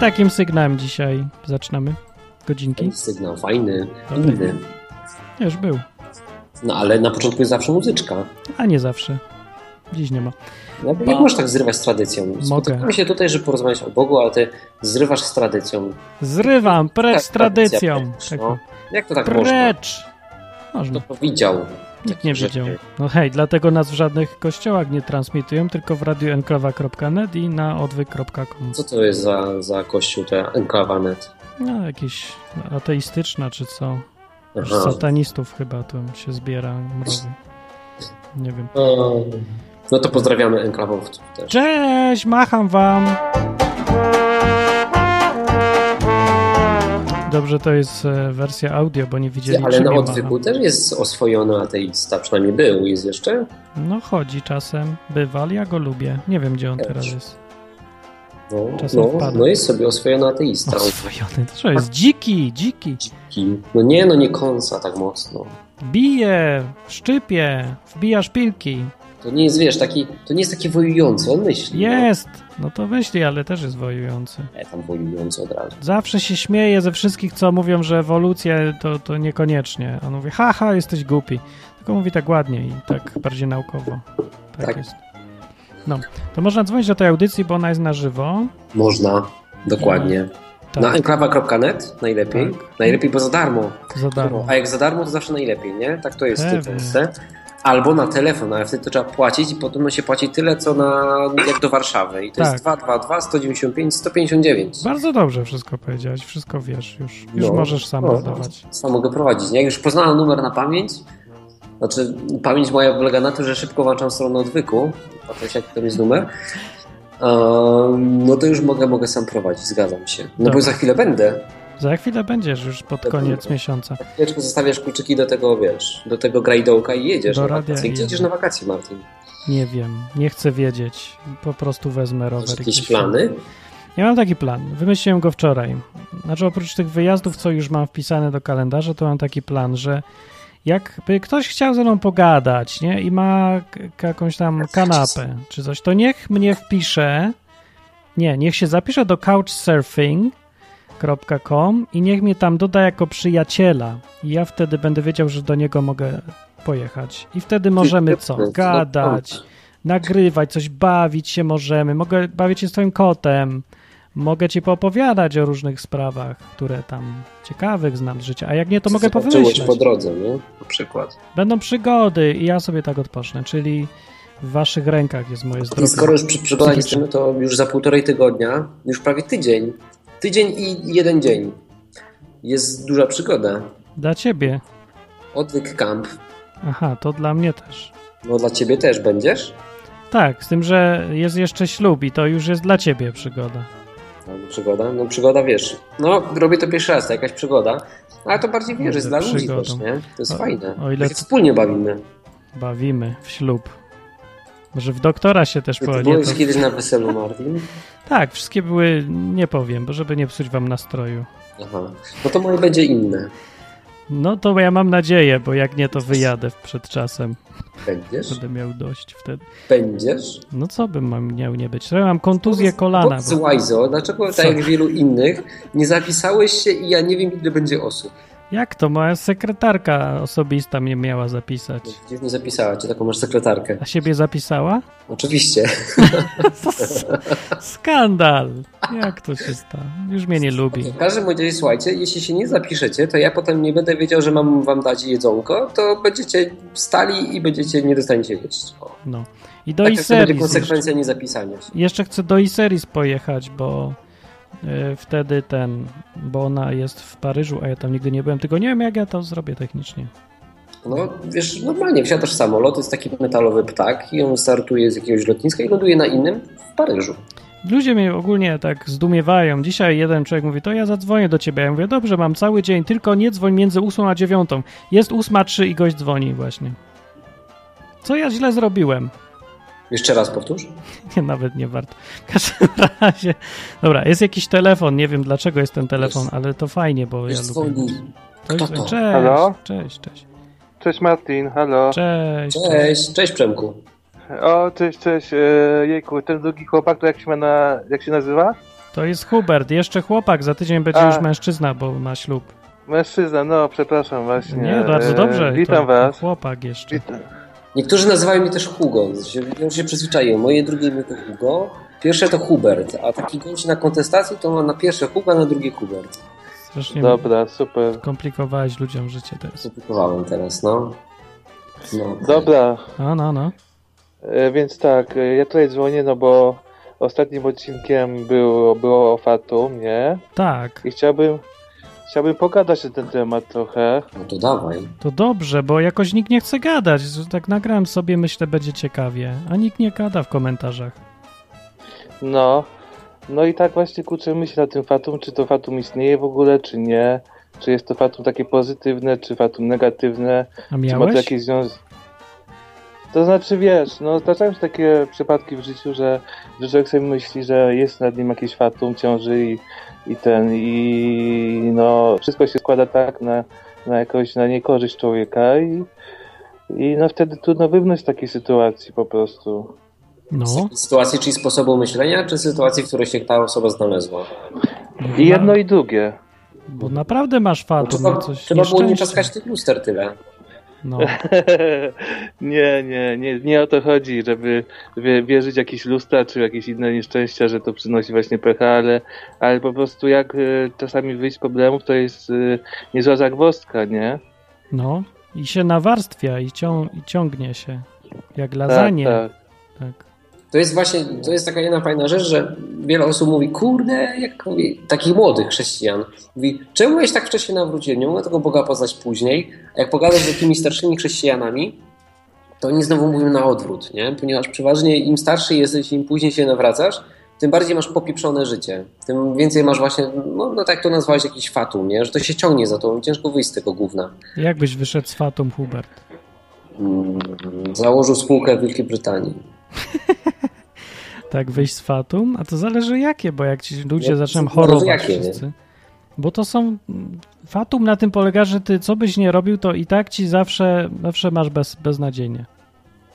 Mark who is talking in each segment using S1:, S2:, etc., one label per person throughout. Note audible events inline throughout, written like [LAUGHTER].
S1: takim sygnałem dzisiaj zaczynamy. Godzinki.
S2: Ten sygnał fajny,
S1: Dobry.
S2: inny.
S1: Już był.
S2: No ale na początku jest zawsze muzyczka.
S1: A nie zawsze. Dziś nie ma.
S2: Jak
S1: Ba.
S2: możesz tak zrywać z tradycją? Spotykamy się tutaj, żeby porozmawiać o Bogu, ale ty zrywasz z tradycją.
S1: Zrywam, precz z
S2: Tak, tradycja,
S1: tradycją.
S2: precz,
S1: Tak,
S2: no. Jak to tak można?
S1: precz! Można.
S2: Kto powiedział?
S1: Nikt nie
S2: Że-
S1: wiedział. No hej, dlatego nas w żadnych kościołach nie transmitują, tylko w radioenklawa.net i na odwyk.com.
S2: Co to jest za, za kościół, ta enklawanet?
S1: No, jakieś ateistyczna czy co.
S2: Aha.
S1: Satanistów chyba tu się zbiera mrozy. Nie wiem.
S2: No, No to pozdrawiamy enklawowców też.
S1: Cześć, macham wam. Dobrze, to jest e, wersja audio, bo nie widzieli
S2: Ale no
S1: czy
S2: na
S1: nie
S2: odwyku też jest oswojony ateista, przynajmniej był. Jest jeszcze?
S1: macha. No chodzi czasem, bywa, ale ja go lubię. Nie wiem, gdzie on
S2: Też.
S1: teraz jest.
S2: No,
S1: Czasem
S2: no,
S1: wpada.
S2: no jest sobie oswojony ateista.
S1: Oswojony, to co jest? Dziki, dziki.
S2: Kim? No nie, no nie kąsa tak mocno.
S1: Bije, szczypie, wbija szpilki.
S2: To nie jest, wiesz, taki, to nie jest taki wojujący, on myśli.
S1: Jest! No to myśli, ale też jest wojujący.
S2: No. E, tam wojujący od razu.
S1: Zawsze się śmieje ze wszystkich, co mówią, że ewolucja to, to niekoniecznie. On mówi, haha, jesteś głupi. Tylko mówi tak ładnie i tak bardziej naukowo. Tak,
S2: Tak.
S1: jest. No, to można dzwonić do tej audycji, bo ona jest na żywo.
S2: Można, dokładnie.
S1: Tak,
S2: Na enklawa.net najlepiej. Najlepiej, bo za darmo.
S1: za darmo.
S2: A jak za darmo, to zawsze najlepiej, nie? Tak to jest w
S1: Pewnie.
S2: tej Polsce. Albo na telefon, ale wtedy to trzeba płacić i podobno się płaci tyle, co na, jak do Warszawy. I to
S1: Tak.
S2: jest 222 195 159.
S1: Bardzo dobrze wszystko powiedziałeś, wszystko wiesz już. Już
S2: No,
S1: możesz sam
S2: no.
S1: nadawać.
S2: Sam mogę prowadzić. nie? Jak już poznałem numer na pamięć, znaczy pamięć moja polega na tym, że szybko włączam stronę odwyku, a to jaki tam jest numer, Ehm, no to już mogę, mogę sam prowadzić, zgadzam się. No
S1: Dobra.
S2: bo za chwilę będę.
S1: Za chwilę będziesz już pod
S2: Dobra.
S1: koniec miesiąca.
S2: Za Chwileczkę zostawiasz kluczyki do tego, wiesz, do tego grajdołka i jedziesz
S1: Do
S2: na
S1: radia
S2: wakacje.
S1: i
S2: Gdzie
S1: jedziesz.
S2: jedziesz na wakacje, Martin?
S1: Nie wiem, nie chcę wiedzieć. Po prostu wezmę rower.
S2: Masz
S1: i
S2: jakieś
S1: gdzieś-
S2: plany?
S1: Ja mam taki plan. Wymyśliłem go wczoraj. Znaczy, oprócz tych wyjazdów, co już mam wpisane do kalendarza, to mam taki plan, że jakby ktoś chciał ze mną pogadać, nie? I ma k- jakąś tam kanapę czy coś, to niech mnie wpisze. Nie, niech się zapisze do couchsurfing.com i niech mnie tam doda jako przyjaciela. I ja wtedy będę wiedział, że do niego mogę pojechać. I wtedy możemy co?
S2: No,
S1: Gadać, nagrywać, coś bawić się możemy. Mogę bawić się z twoim kotem. Mogę ci poopowiadać o różnych sprawach, które tam ciekawych znam z życia. A jak nie, to mogę
S2: Zobaczyłeś
S1: powymyśleć.
S2: po drodze, nie? Na przykład.
S1: Będą przygody i ja sobie tak odpocznę, czyli w waszych rękach jest moje
S2: I
S1: zdrowie.
S2: skoro już przy przygodach
S1: Psychiczne.
S2: jesteśmy, to już za półtorej tygodnia, już prawie tydzień, tydzień i jeden dzień jest duża przygoda.
S1: Dla ciebie.
S2: Odwyk Camp.
S1: Aha, to dla mnie też.
S2: No dla ciebie też będziesz?
S1: Tak, z tym, że jest jeszcze ślub i to już jest dla ciebie przygoda.
S2: No, przygoda? No przygoda, wiesz. No, robię to pierwszy raz, to jakaś przygoda. Ale to bardziej, wiesz,
S1: Kurde,
S2: jest dla ludzi
S1: przygodą.
S2: też, nie? To jest
S1: O-
S2: fajne.
S1: o
S2: O
S1: ile-
S2: ile... się wspólnie bawimy.
S1: Bawimy w ślub. Może w doktora się też
S2: Ty
S1: po... nie,
S2: byłeś
S1: to...
S2: kiedyś na weselu, Martin?
S1: Tak, wszystkie były, nie powiem, bo żeby nie psuć wam nastroju.
S2: Aha. No to moje będzie inne.
S1: No to ja mam nadzieję, bo jak nie, to wyjadę przed czasem.
S2: Będziesz?
S1: Będę miał dość wtedy.
S2: Będziesz?
S1: No co bym mam- miał nie być? Ja mam kontuzję kolana.
S2: Powiedz,
S1: Bo...
S2: Łajzo, dlaczego
S1: Co?
S2: tak jak wielu innych nie zapisałeś się i ja nie wiem, ile będzie osób.
S1: Jak to? Moja sekretarka osobista mnie miała zapisać.
S2: No, Przecież nie zapisała cię, taką masz sekretarkę.
S1: A siebie zapisała? [LAUGHS]
S2: Oczywiście.
S1: Skandal! Jak to się stało? Już mnie nie lubi.
S2: W każdym bądź razie, słuchajcie, jeśli się nie zapiszecie, to ja potem nie będę wiedział, że mam wam dać jedzonko, to będziecie stali i będziecie nie dostaniecie jeść. O.
S1: No. I do
S2: Taka Tak, to będzie
S1: Iseris jeszcze.
S2: konsekwencja niezapisania się.
S1: jeszcze chcę do Iseris pojechać, bo y, wtedy ten, bo ona jest w Paryżu, a ja tam nigdy nie byłem, tylko nie wiem jak ja to zrobię technicznie.
S2: No wiesz, normalnie wsiadasz w samolot, jest taki metalowy ptak i on startuje z jakiegoś lotniska i ląduje na innym w Paryżu.
S1: Ludzie mnie ogólnie tak zdumiewają. Dzisiaj jeden człowiek mówi, to ja zadzwonię do ciebie. Ja mówię, dobrze, mam cały dzień, tylko nie dzwoń między 8 a 9. Jest 8.03 i gość dzwoni właśnie. Co ja źle zrobiłem? [LAUGHS]
S2: Jeszcze raz powtórz.
S1: Nie, nawet nie warto. W każdym [LAUGHS] razie, dobra, jest jakiś telefon, nie wiem dlaczego jest ten telefon,
S2: Jest.
S1: ale to fajnie, bo ja
S2: Wiesz,
S1: lubię.
S2: dzwoni.
S1: Ktoś
S2: Kto
S1: dzwoni.
S2: to?
S1: Cześć,
S3: Halo?
S1: cześć, cześć,
S3: Cześć Martin, halo.
S1: cześć.
S2: Cześć, cześć Przemku.
S3: O, cześć, cześć. E, jejku, ten drugi chłopak, to jak się, ma na, jak się nazywa?
S1: To jest Hubert, jeszcze chłopak, za tydzień będzie
S3: A.
S1: już mężczyzna, bo ma ślub.
S3: Mężczyzna, no przepraszam właśnie.
S1: Nie, bardzo
S3: E,
S1: dobrze.
S3: Witam
S1: to
S3: was.
S1: Chłopak jeszcze.
S3: Witam.
S2: Niektórzy nazywają mnie też Hugo. Ja już się przyzwyczaiłem. Moje drugie imię to Hugo. Pierwsze to Hubert, a taki gość na kontestacji to ma na pierwsze Hugo, na drugie Hubert.
S1: Strasznie
S3: Dobra, super.
S1: komplikowałeś ludziom życie teraz.
S2: Zuplikowałem teraz, no. no.
S3: Dobra,
S1: No, no, no.
S3: e, więc tak, e, ja tutaj dzwonię, no bo ostatnim odcinkiem było, było o Fatum, nie?
S1: Tak,
S3: I chciałbym, chciałbym pogadać na ten temat trochę.
S2: No to dawaj.
S1: to dobrze, bo jakoś nikt nie chce gadać. Tak nagrałem sobie, myślę, będzie ciekawie. A nikt nie gada w komentarzach.
S3: No, no i tak właśnie kurczymy się na tym Fatum, czy to Fatum istnieje w ogóle, czy nie. Czy jest to Fatum takie pozytywne, czy Fatum negatywne.
S1: A
S3: Czy ma to
S1: miałeś?
S3: jakiś związek? To znaczy, wiesz, no zdarzają się takie przypadki w życiu, że, że człowiek sobie myśli, że jest nad nim jakiś fatum ciąży i, i ten, i no wszystko się składa tak na, na jakąś, na niekorzyść człowieka i, i no wtedy trudno wybrnąć z takiej sytuacji po prostu.
S1: No,
S2: Z sytuacji, czyli sposobu myślenia, czy sytuacji, w której się ta osoba znalazła?
S1: No.
S3: I jedno i drugie.
S1: bo naprawdę masz
S2: No,
S1: fatum,
S2: trzeba
S1: no coś
S2: trzeba było nie
S1: nieszczęście.
S2: czaskać tych luster tyle.
S1: No,
S3: [LAUGHS] nie, nie, nie, nie o to chodzi, żeby wie- wierzyć w jakieś lusta czy w jakieś inne nieszczęścia, że to przynosi właśnie pecha, ale, ale po prostu jak e, czasami wyjść z problemów, to jest e, niezła zagwozdka, nie?
S1: no. I się nawarstwia i, cią i ciągnie się. Jak lasagne. Tak,
S3: tak.
S2: To jest właśnie, to jest taka jedna fajna rzecz, że wiele osób mówi, kurde, jak mówi, takich młodych chrześcijan, mówi, czemu ja się tak wcześniej nawróciłem, nie mogę tego Boga poznać później, a jak pogadam z takimi starszymi chrześcijanami, to oni znowu mówią na odwrót, nie? ponieważ przeważnie im starszy jesteś, im później się nawracasz, tym bardziej masz popieprzone życie, tym więcej masz właśnie, no, no tak to nazwałeś, jakiś fatum, nie? że to się ciągnie za tobą, ciężko wyjść z tego gówna.
S1: Jakbyś wyszedł z fatum, Hubert?
S2: Mm, założył spółkę w Wielkiej Brytanii.
S1: Tak, wyjść z fatum? A to zależy jakie, bo jak ci ludzie
S2: Nie,
S1: zaczną
S2: zależy
S1: chorować
S2: No, jakie, nie?
S1: wszyscy. Bo to są... Fatum na tym polega, że ty co byś nie robił, to i tak ci zawsze, zawsze masz bez, beznadziejnie.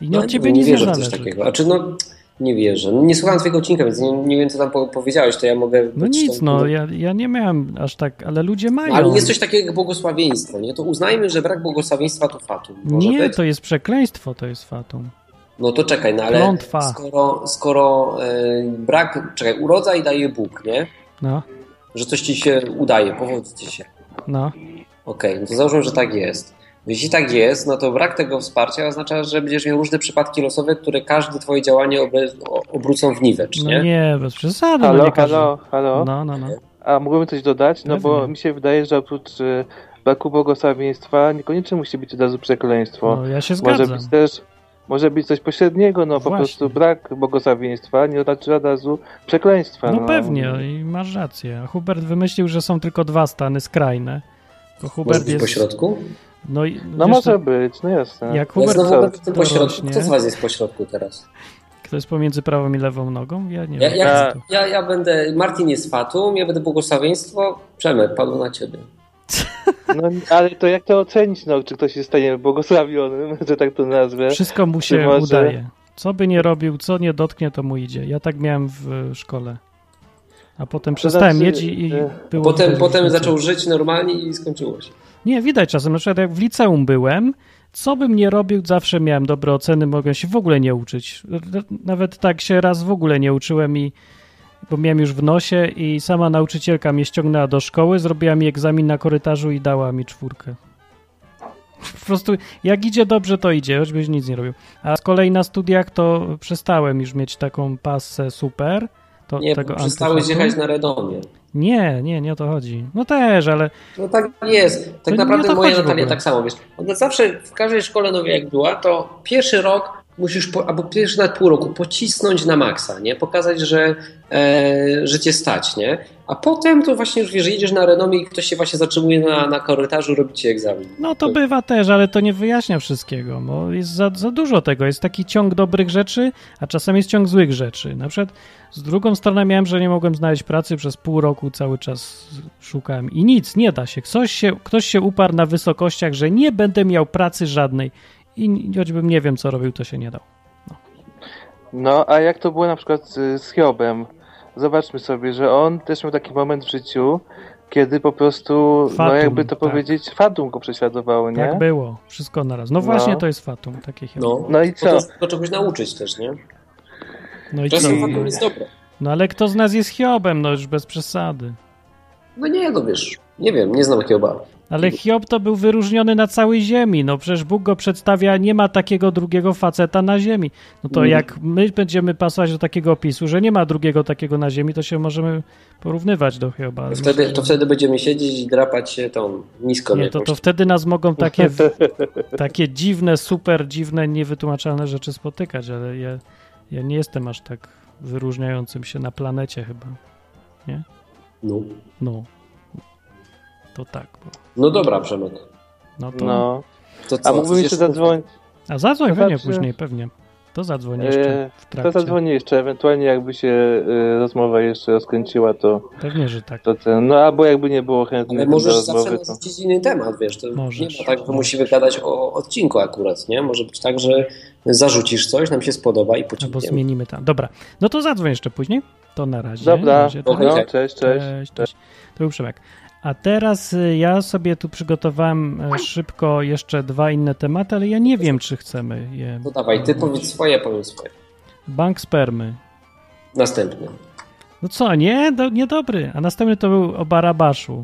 S1: I nie od No, ciebie nic nie
S2: No, wierzę w coś
S1: zależy.
S2: takiego. A czy no, nie wierzę. No, Nie słuchałem twojego odcinka, więc nie, nie wiem, co tam po- powiedziałeś, to ja mogę...
S1: No
S2: być
S1: nic,
S2: tam-
S1: no ja, ja nie miałem aż tak, ale ludzie mają.
S2: Ale jest coś takiego jak błogosławieństwo, nie? To uznajmy, że brak błogosławieństwa to fatum. Może
S1: Nie,
S2: być?
S1: to jest przekleństwo, to jest fatum.
S2: No to czekaj, no ale
S1: Klątwa.
S2: skoro, skoro e, brak... Czekaj, urodzaj daje Bóg, nie?
S1: No,
S2: Że coś ci się udaje, powodzi ci się.
S1: no.
S2: Okej, no to załóżmy, że tak jest. Jeśli tak jest, no to brak tego wsparcia oznacza, że będziesz miał różne przypadki losowe, które każde twoje działanie obe- o- obrócą w niwecz,
S1: No
S2: nie?
S1: nie, bez przesady. no,
S3: Halo,
S1: nie każdy-
S3: halo, halo.
S1: No, no, no.
S3: A mógłbym coś dodać? No bo
S1: Pewnie.
S3: mi się wydaje, że oprócz e, braku błogosławieństwa niekoniecznie musi być od razu przekleństwo.
S1: No, ja się
S3: Może
S1: zgadzam.
S3: być też, może być coś pośredniego, no po
S1: Właśnie.
S3: prostu brak błogosławieństwa, nie znaczy od razu przekleństwa.
S1: No pewnie, i masz rację. A Hubert wymyślił, że są tylko dwa stany skrajne. Bo
S2: Może
S1: Hubert
S2: być
S1: jest.
S2: pośrodku?
S1: No, i-
S3: No
S1: wiesz,
S3: może
S1: to-
S3: być, no jasne.
S1: Jak
S2: Ja
S1: Hubert.
S2: znowu
S3: co?
S2: będę w tym
S1: To
S2: pośrodku.
S1: rośnie.
S2: Kto z was jest w pośrodku teraz?
S1: Kto jest pomiędzy prawą i lewą nogą? Ja nie
S2: Ja,
S1: wiem.
S2: ja,
S1: co
S3: jak-
S1: to.
S2: ja, ja będę... Martin jest fatum, ja będę błogosławieństwo. Przemek, padło na ciebie.
S3: No, ale to jak to ocenić, no, czy ktoś jest stanie błogosławionym, [LAUGHS] że tak to nazwę?
S1: Wszystko mu się
S3: może-
S1: udaje. Co by nie robił, co nie dotknie, to mu idzie. Ja tak miałem w e, szkole. A potem przestałem
S3: znaczy,
S1: mieć i, i
S3: e,
S1: było.
S2: Potem,
S1: widać
S2: potem
S1: różnicę.
S2: zaczął żyć normalnie i skończyło się.
S1: Nie, widać czasem. Na przykład jak w liceum byłem, co bym nie robił, zawsze miałem dobre oceny, mogłem się w ogóle nie uczyć. R- Nawet tak się raz w ogóle nie uczyłem i bo miałem już w nosie i sama nauczycielka mnie ściągnęła do szkoły, zrobiła mi egzamin na korytarzu i dała mi czwórkę. Po prostu jak idzie dobrze, to idzie, choćbyś nic nie robił. A z kolei na studiach to przestałem już mieć taką pasę super. To,
S2: Nie,
S1: tego
S2: przestałeś
S1: antyfatu.
S2: jechać na Redomie.
S1: Nie, nie, nie o to chodzi. No też, ale
S2: No tak jest.
S1: To
S2: Tak
S1: nie o
S2: naprawdę
S1: to
S2: moja
S1: chodzi w
S2: Natalia
S1: ogóle.
S2: tak samo, wiesz. Ona zawsze w każdej szkole nowej jak była, to pierwszy rok musisz, po, albo pierwszy na pół roku pocisnąć na maksa, nie? Pokazać, że, e, że cię stać, nie? A potem to właśnie już, wiesz, jedziesz na renomie i ktoś się właśnie zatrzymuje na, na korytarzu, robi ci egzamin.
S1: No to bywa też, ale to nie wyjaśnia wszystkiego, bo jest za, za dużo tego. Jest taki ciąg dobrych rzeczy, a czasem jest ciąg złych rzeczy. Na przykład z drugą stroną miałem, że nie mogłem znaleźć pracy przez pół roku, cały czas szukałem i nic, nie da się. Ktoś się, ktoś się uparł na wysokościach, że nie będę miał pracy żadnej i choćbym nie wiem, co robił, to się nie dał.
S3: No, a jak to było na przykład z, z Hiobem? zobaczmy sobie, że on też miał taki moment w życiu, kiedy po prostu, no
S1: Fatum,
S3: jakby to
S1: tak.
S3: powiedzieć, fatum go prześladowało, nie?
S1: Tak było, wszystko naraz. No właśnie
S3: No.
S1: to jest fatum, takie chyba.
S2: No,
S3: No i
S2: Bo to
S3: co?
S2: już tylko czegoś nauczyć też, nie?
S1: No i co?
S2: Czasem fatum jest dobre.
S1: No ale kto z nas jest Hiobem, no już bez przesady.
S2: No nie, no wiesz, nie wiem, nie znam Hioba.
S1: Ale Hiob to był wyróżniony na całej ziemi. No przecież Bóg go przedstawia, nie ma takiego drugiego faceta na ziemi. No to
S2: Mhm.
S1: jak my będziemy pasować do takiego opisu, że nie ma drugiego takiego na ziemi, to się możemy porównywać do Hioba. Ale myślę,
S2: Wtedy,
S1: że-
S2: to wtedy będziemy siedzieć i drapać się tą nisko.
S1: nie, to, to wtedy nas mogą takie,
S2: [LAUGHS]
S1: takie dziwne, super dziwne, niewytłumaczalne rzeczy spotykać, ale ja, ja nie jestem aż tak wyróżniającym się na planecie chyba.
S2: no.
S1: No. To tak. było.
S2: no dobra, Przemek.
S1: No to.
S3: No.
S2: To co,
S3: A mógłbym jeszcze
S2: chcesz-
S3: zadzwonić,
S1: A zadzwoń
S3: To
S1: pewnie
S3: znaczy-
S1: później, pewnie. To zadzwoń
S3: E,
S1: jeszcze w
S3: to
S1: trakcie.
S3: zadzwonię jeszcze, ewentualnie jakby się e, rozmowa jeszcze rozkręciła, to,
S1: Pewnie, że tak.
S3: to ten, no albo jakby nie było chętnych
S2: Ale
S3: do
S2: możesz zawsze
S3: rozmowy, to...
S2: narzucić inny temat, wiesz, to
S1: Możesz.
S2: nie ma tak, że musimy gadać o odcinku akurat, nie? Może być tak, że zarzucisz coś, nam się spodoba i
S1: Albo
S2: pociągniemy.
S1: zmienimy tam. Dobra, no to zadzwoń jeszcze później. To na razie. Na
S3: Dobra,
S1: razie.
S2: to
S3: no,
S2: hej.
S3: cześć, cześć.
S2: E,
S1: Cześć, cześć. To był Przemek. A teraz y, ja sobie tu przygotowałem e, szybko jeszcze dwa inne tematy, ale ja nie wiem, czy chcemy je.
S2: No dawaj, ty powiedz swoje, ja powiem swoje.
S1: Bank spermy.
S2: Następny.
S1: No co, nie? Do, niedobry. A następny to był o Barabaszu.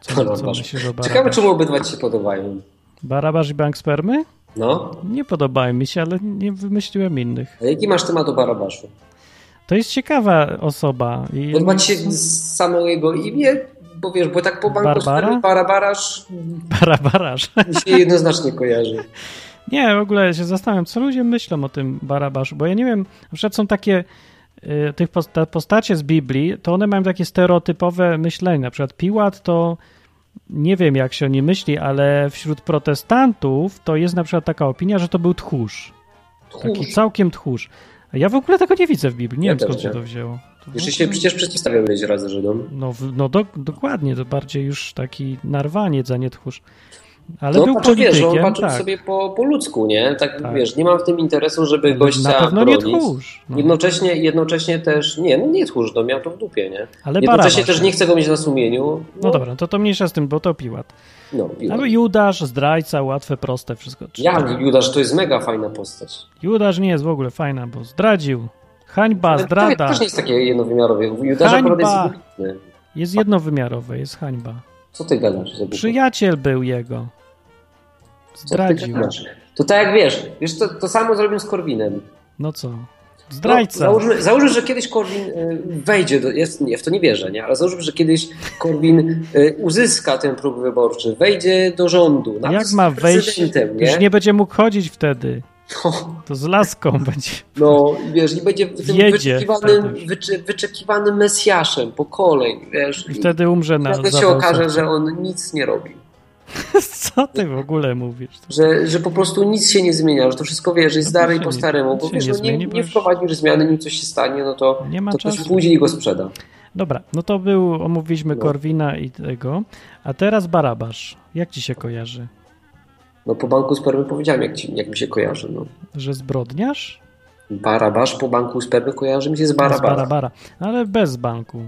S1: Co, co
S2: Barabasz.
S1: myślisz o
S2: Ciekawe,
S1: Barabaszu?
S2: czemu obydwa ci się podobają.
S1: Barabasz i bank spermy?
S2: No?
S1: Nie podobają mi się, ale nie wymyśliłem innych.
S2: A jaki masz temat o Barabaszu?
S1: To jest ciekawa osoba. I
S2: Podoba
S1: [LAUGHS]
S2: ci się z samo jego imię? Bo wiesz, bo tak po banku
S1: Barbara?
S2: Sfery Barabarasz
S1: Barabarasz.
S2: mi się jednoznacznie kojarzy.
S1: [LAUGHS] Nie, w ogóle się zastanawiam, co ludzie myślą o tym Barabaszu, bo ja nie wiem, na przykład są takie y, tych posta- postacie z Biblii, to one mają takie stereotypowe myślenie, na przykład Piłat to nie wiem jak się o nim myśli, ale wśród protestantów to jest na przykład taka opinia, że to był tchórz, taki
S2: Tchórz.
S1: całkiem tchórz. A ja w ogóle tego nie widzę w Biblii, nie
S2: Ja
S1: wiem skąd
S2: też
S1: się
S2: nie.
S1: to wzięło. To
S2: Jeszcze
S1: w
S2: się
S1: ogóle-
S2: przecież przeciwstawiam mieć razy Żydom.
S1: No, w- no dok- dokładnie, to bardziej już taki narwaniec, a nie tchórz. Ale
S2: no
S1: był
S2: patrz,
S1: politykiem,
S2: wiesz, że on patrzył
S1: tak.
S2: sobie po, po ludzku, nie? Tak,
S1: Tak.
S2: wiesz, nie mam w tym interesu, żeby gościa
S1: na pewno nie
S2: bronić.
S1: tchórz. No.
S2: Jednocześnie, jednocześnie też, nie, no nie tchórz, no miał to w dupie, nie?
S1: Ale
S2: jednocześnie
S1: Barabasz.
S2: też nie chcę go mieć na sumieniu.
S1: No dobra, to to mniejsza z tym, bo to Piłat.
S2: No,
S1: Ale no.
S2: Piłat.
S1: Judasz, zdrajca, łatwe, proste, wszystko. Tak.
S2: Ja, Judasz, to jest mega fajna postać.
S1: Judasz nie jest w ogóle fajna, bo zdradził. Hańba,
S2: Ale To
S1: zdrada.
S2: też nie jest takie jednowymiarowe. Judasz
S1: Hańba.
S2: akurat jest jednolitny.
S1: Jest jednowymiarowe, jest hańba.
S2: Co ty gadasz? Zabuchu?
S1: Przyjaciel był jego.
S2: Co ty
S1: Zdradził.
S2: gadasz? To tak jak wiesz, wiesz to, to samo zrobił z Korwinem.
S1: No co? Zdrajca.
S2: No, załóżmy, załóżmy, że kiedyś Korwin y, wejdzie, do, jest, nie, w to nie wierzę, nie? ale załóżmy, że kiedyś Korwin y, uzyska ten próg wyborczy, wejdzie do rządu. nawet
S1: Jak
S2: z
S1: ma wejść?
S2: prezydentem,
S1: Już
S2: Nie?
S1: nie będzie mógł chodzić wtedy.
S2: No,
S1: To z laską
S2: [LAUGHS]
S1: będzie.
S2: no i wiesz, i będzie tym
S1: Jedzie
S2: wyczekiwanym,
S1: wtedy.
S2: wyczy, wyczekiwanym mesjaszem po kolei, wiesz.
S1: I wtedy umrze na
S2: nagle się
S1: zawał
S2: okaże,
S1: serca.
S2: że on nic nie robi.
S1: [LAUGHS] Co ty w ogóle mówisz?
S2: Że, że po prostu nic się nie zmienia, że to wszystko wiesz, jest
S1: No,
S2: dalej
S1: się
S2: po
S1: nie-
S2: staremu, bo
S1: się
S2: wiesz,
S1: nie
S2: no, nie,
S1: zmieni,
S2: nie,
S1: bo już-
S2: wprowadzisz zmiany, nim coś się stanie, no to,
S1: Nie ma
S2: to ktoś
S1: czasu.
S2: później go sprzeda.
S1: Dobra, no to był, omówiliśmy
S2: No.
S1: Korwina i tego. A teraz Barabasz. Jak ci się kojarzy?
S2: No po banku spermy powiedziałem, jak, ci, jak mi się kojarzy. No.
S1: Że zbrodniarz?
S2: Barabasz po banku spermy kojarzy mi się z
S1: Z
S2: Barabara.
S1: Barabara. Ale bez banku.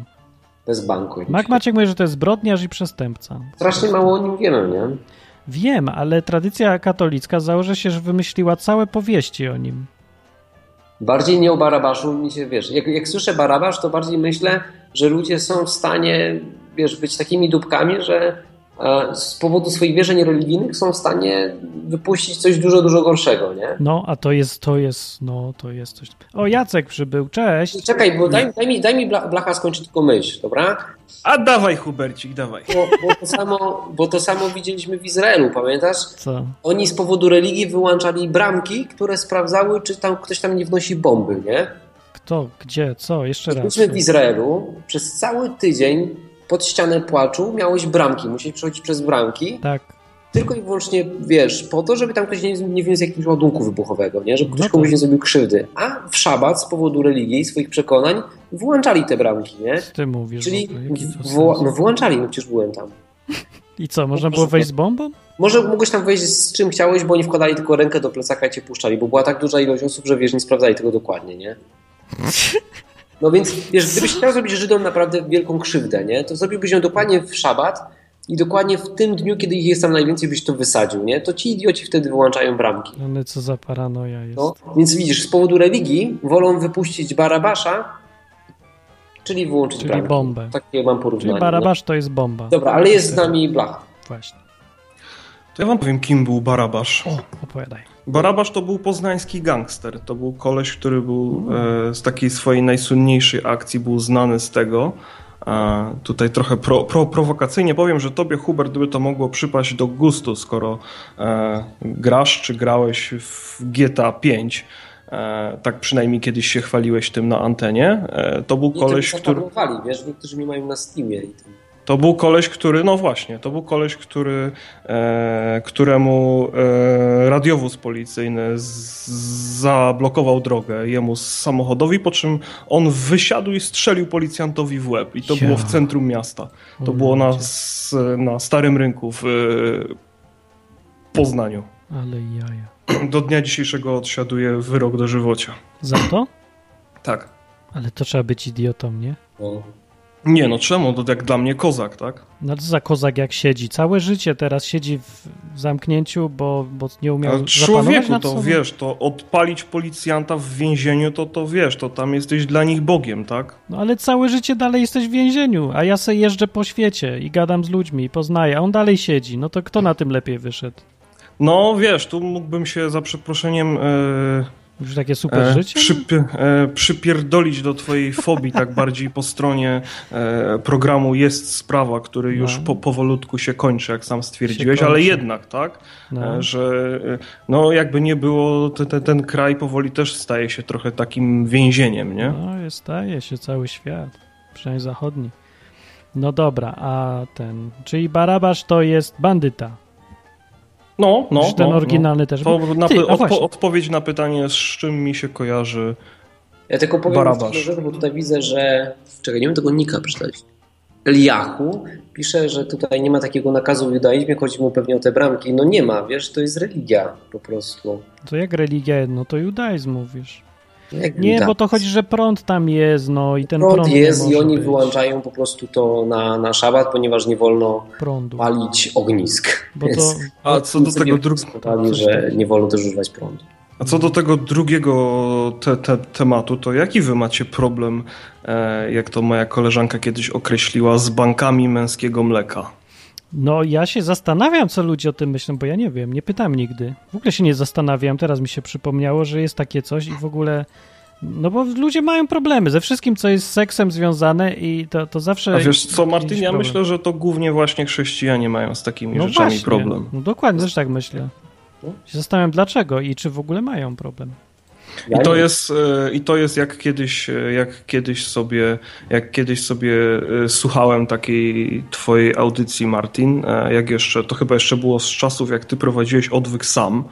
S2: Bez banku.
S1: Mac Maciek mówi, że to jest zbrodniarz i przestępca.
S2: Strasznie mało o nim wiemy, nie?
S1: Wiem, ale tradycja katolicka założy się, że wymyśliła całe powieści o nim.
S2: Bardziej nie o Barabaszu mi się, wiesz, jak, jak słyszę Barabasz, to bardziej myślę, że ludzie są w stanie, wiesz, być takimi dupkami, że e, z powodu swoich wierzeń religijnych są w stanie wypuścić coś dużo, dużo gorszego, nie?
S1: No, a to jest, to jest, no, to jest coś. O, Jacek przybył, cześć.
S2: Czekaj, bo daj, daj mi, daj mi Bla- Blacha skończyć tylko myśl, dobra?
S4: A dawaj, Hubercik, dawaj.
S2: Bo, bo, to samo, bo to samo widzieliśmy w Izraelu, pamiętasz?
S1: Co?
S2: Oni z powodu religii wyłączali bramki, które sprawdzały, czy tam ktoś tam nie wnosi bomby, nie?
S1: Kto, gdzie, co? Jeszcze raz.
S2: Byliśmy w Izraelu, przez cały tydzień pod ścianę płaczu miałeś bramki, musiałeś przechodzić przez bramki,
S1: Tak.
S2: tylko i wyłącznie, wiesz, po to, żeby tam ktoś nie, nie wniósł jakiegoś ładunku wybuchowego, nie? Żeby
S1: No
S2: ktoś
S1: tak.
S2: komuś nie zrobił krzywdy. A w szabat z powodu religii i swoich przekonań wyłączali te bramki, nie?
S1: Co ty mówisz?
S2: Czyli
S1: w ogóle? Jaki to
S2: wyło- no,
S1: sens?
S2: wyłączali, no przecież byłem tam.
S1: I co, można było wejść z bombą?
S2: Może mogłeś tam wejść z czym chciałeś, bo oni wkładali tylko
S1: [LAUGHS]
S2: rękę do plecaka i cię puszczali, bo była tak duża ilość osób, że wiesz, nie sprawdzali tego dokładnie, nie? No więc, wiesz, gdybyś chciał zrobić Żydom naprawdę wielką krzywdę, nie? To zrobiłbyś ją dokładnie w szabat i dokładnie w tym dniu, kiedy ich jest tam najwięcej, byś to wysadził, nie? To ci idioci wtedy wyłączają bramki.
S1: Ale No, co za paranoja jest.
S2: No, więc widzisz, z powodu religii wolą wypuścić Barabasza, czyli wyłączyć
S1: Czyli
S2: bramki.
S1: bombę.
S2: Takie mam
S1: Czyli
S2: porównanie.
S1: Barabasz to jest bomba.
S2: tak. No. Dobra, ale jest z nami Blach.
S1: Właśnie.
S4: To ja wam powiem, kim był Barabasz.
S1: O, opowiadaj.
S4: Barabasz to był poznański gangster. To był koleś, który był e, z takiej swojej najsłynniejszej akcji, był znany z tego. E, tutaj trochę pro, pro, prowokacyjnie powiem, że tobie, Hubert, by to mogło przypaść do gustu, skoro e, grasz czy grałeś w GTA 5. E, tak przynajmniej kiedyś się chwaliłeś tym na antenie. E, to był koleś,
S2: Niektórzy
S4: który.
S2: zaparowali, wiesz, niektórzy mi mają na Steamie i tam.
S4: To był koleś, który, no właśnie, to był koleś, który, e, któremu e, radiowóz policyjny z, zablokował drogę jemu z samochodowi, po czym on wysiadł i strzelił policjantowi w łeb. I to
S1: Ja.
S4: było w centrum miasta. To było na, s- na Starym Rynku w e, Poznaniu. [CLEARS THROAT]
S1: Ale jaja.
S4: Do dnia dzisiejszego odsiaduje wyrok do żywocia.
S1: Za to?
S4: Tak.
S1: Ale to trzeba być idiotą, nie?
S2: No.
S4: Nie no, czemu? To jak dla mnie kozak, tak?
S1: No to za kozak jak siedzi. Całe życie teraz siedzi w zamknięciu, bo, bo nie umiał
S4: Ale
S1: zapanować
S4: człowieku
S1: nad
S4: to
S1: sobą.
S4: wiesz, to odpalić policjanta w więzieniu, to to wiesz, to tam jesteś dla nich Bogiem, tak?
S1: No ale całe życie dalej jesteś w więzieniu, a ja se jeżdżę po świecie i gadam z ludźmi i poznaję, a on dalej siedzi. No to kto na tym lepiej wyszedł?
S4: No wiesz, tu mógłbym się za przeproszeniem e,
S1: Już takie super
S4: e,
S1: życie? no?
S4: przypie, e, przypierdolić do twojej fobii, tak bardziej po stronie e, programu jest sprawa, który już
S1: No.
S4: po, powolutku się kończy, jak sam stwierdziłeś,
S1: kończy.
S4: ale jednak, tak?
S1: No.
S4: E, że e, no jakby nie było, te, te, ten kraj powoli też staje się trochę takim więzieniem, nie?
S1: No, jest- staje się cały świat, przynajmniej zachodni. No dobra, a ten, czyli Barabasz to jest bandyta.
S4: No, no.
S1: No, ten
S4: no, no.
S1: oryginalny też.
S4: To
S1: był.
S4: na,
S1: Ty,
S4: py-
S1: a
S4: odpo,
S1: właśnie.
S4: odpowiedź na pytanie, z czym mi się kojarzy.
S2: Ja tylko powiem
S4: Barabasz.
S2: jeszcze rzecz, bo tutaj widzę, że... Czekaj, nie wiem tego nika przeczytać. Eliahu pisze, że tutaj nie ma takiego nakazu w judaizmie, chodzi mu pewnie o te bramki. No nie ma, wiesz, to jest religia po prostu. No
S1: To jak religia, no to judaizm mówisz.
S2: Jak
S1: Nie,
S2: widać.
S1: bo to chodzi, że prąd tam jest, no i ten prąd,
S2: Tak. Prąd jest
S1: nie
S2: i
S1: może
S2: oni
S1: być.
S2: wyłączają po prostu to na, na szabat, ponieważ nie wolno
S1: prądu.
S2: palić ognisk.
S1: Bo to,
S2: Więc
S4: A co do
S2: sobie
S4: tego dru-
S2: dyskutowali, że nie wolno też używać prądu.
S4: A co
S1: Mhm.
S4: do tego drugiego te, te, tematu, to jaki wy macie problem, e, jak to moja koleżanka kiedyś określiła, z bankami męskiego mleka?
S1: no ja się zastanawiam, co ludzie o tym myślą, bo ja nie wiem, nie pytam nigdy. W ogóle się nie zastanawiam, teraz mi się przypomniało, że jest takie coś i w ogóle... No bo ludzie mają problemy ze wszystkim, co jest z seksem związane i to, to zawsze...
S4: A wiesz co, Martin,
S1: jakiś
S4: ja
S1: problem.
S4: myślę, że to głównie właśnie chrześcijanie mają z takimi
S1: no
S4: rzeczami
S1: właśnie.
S4: problem.
S1: No dokładnie, też tak myślę.
S2: No.
S1: Się zastanawiam dlaczego i czy w ogóle mają problem.
S2: Ja
S4: I to
S2: nie-
S4: jest, e, i to jest jak, kiedyś, e, jak kiedyś sobie, jak kiedyś sobie e, słuchałem takiej twojej audycji, Martin, e, jak jeszcze, to chyba jeszcze było z czasów, jak ty prowadziłeś odwyk sam,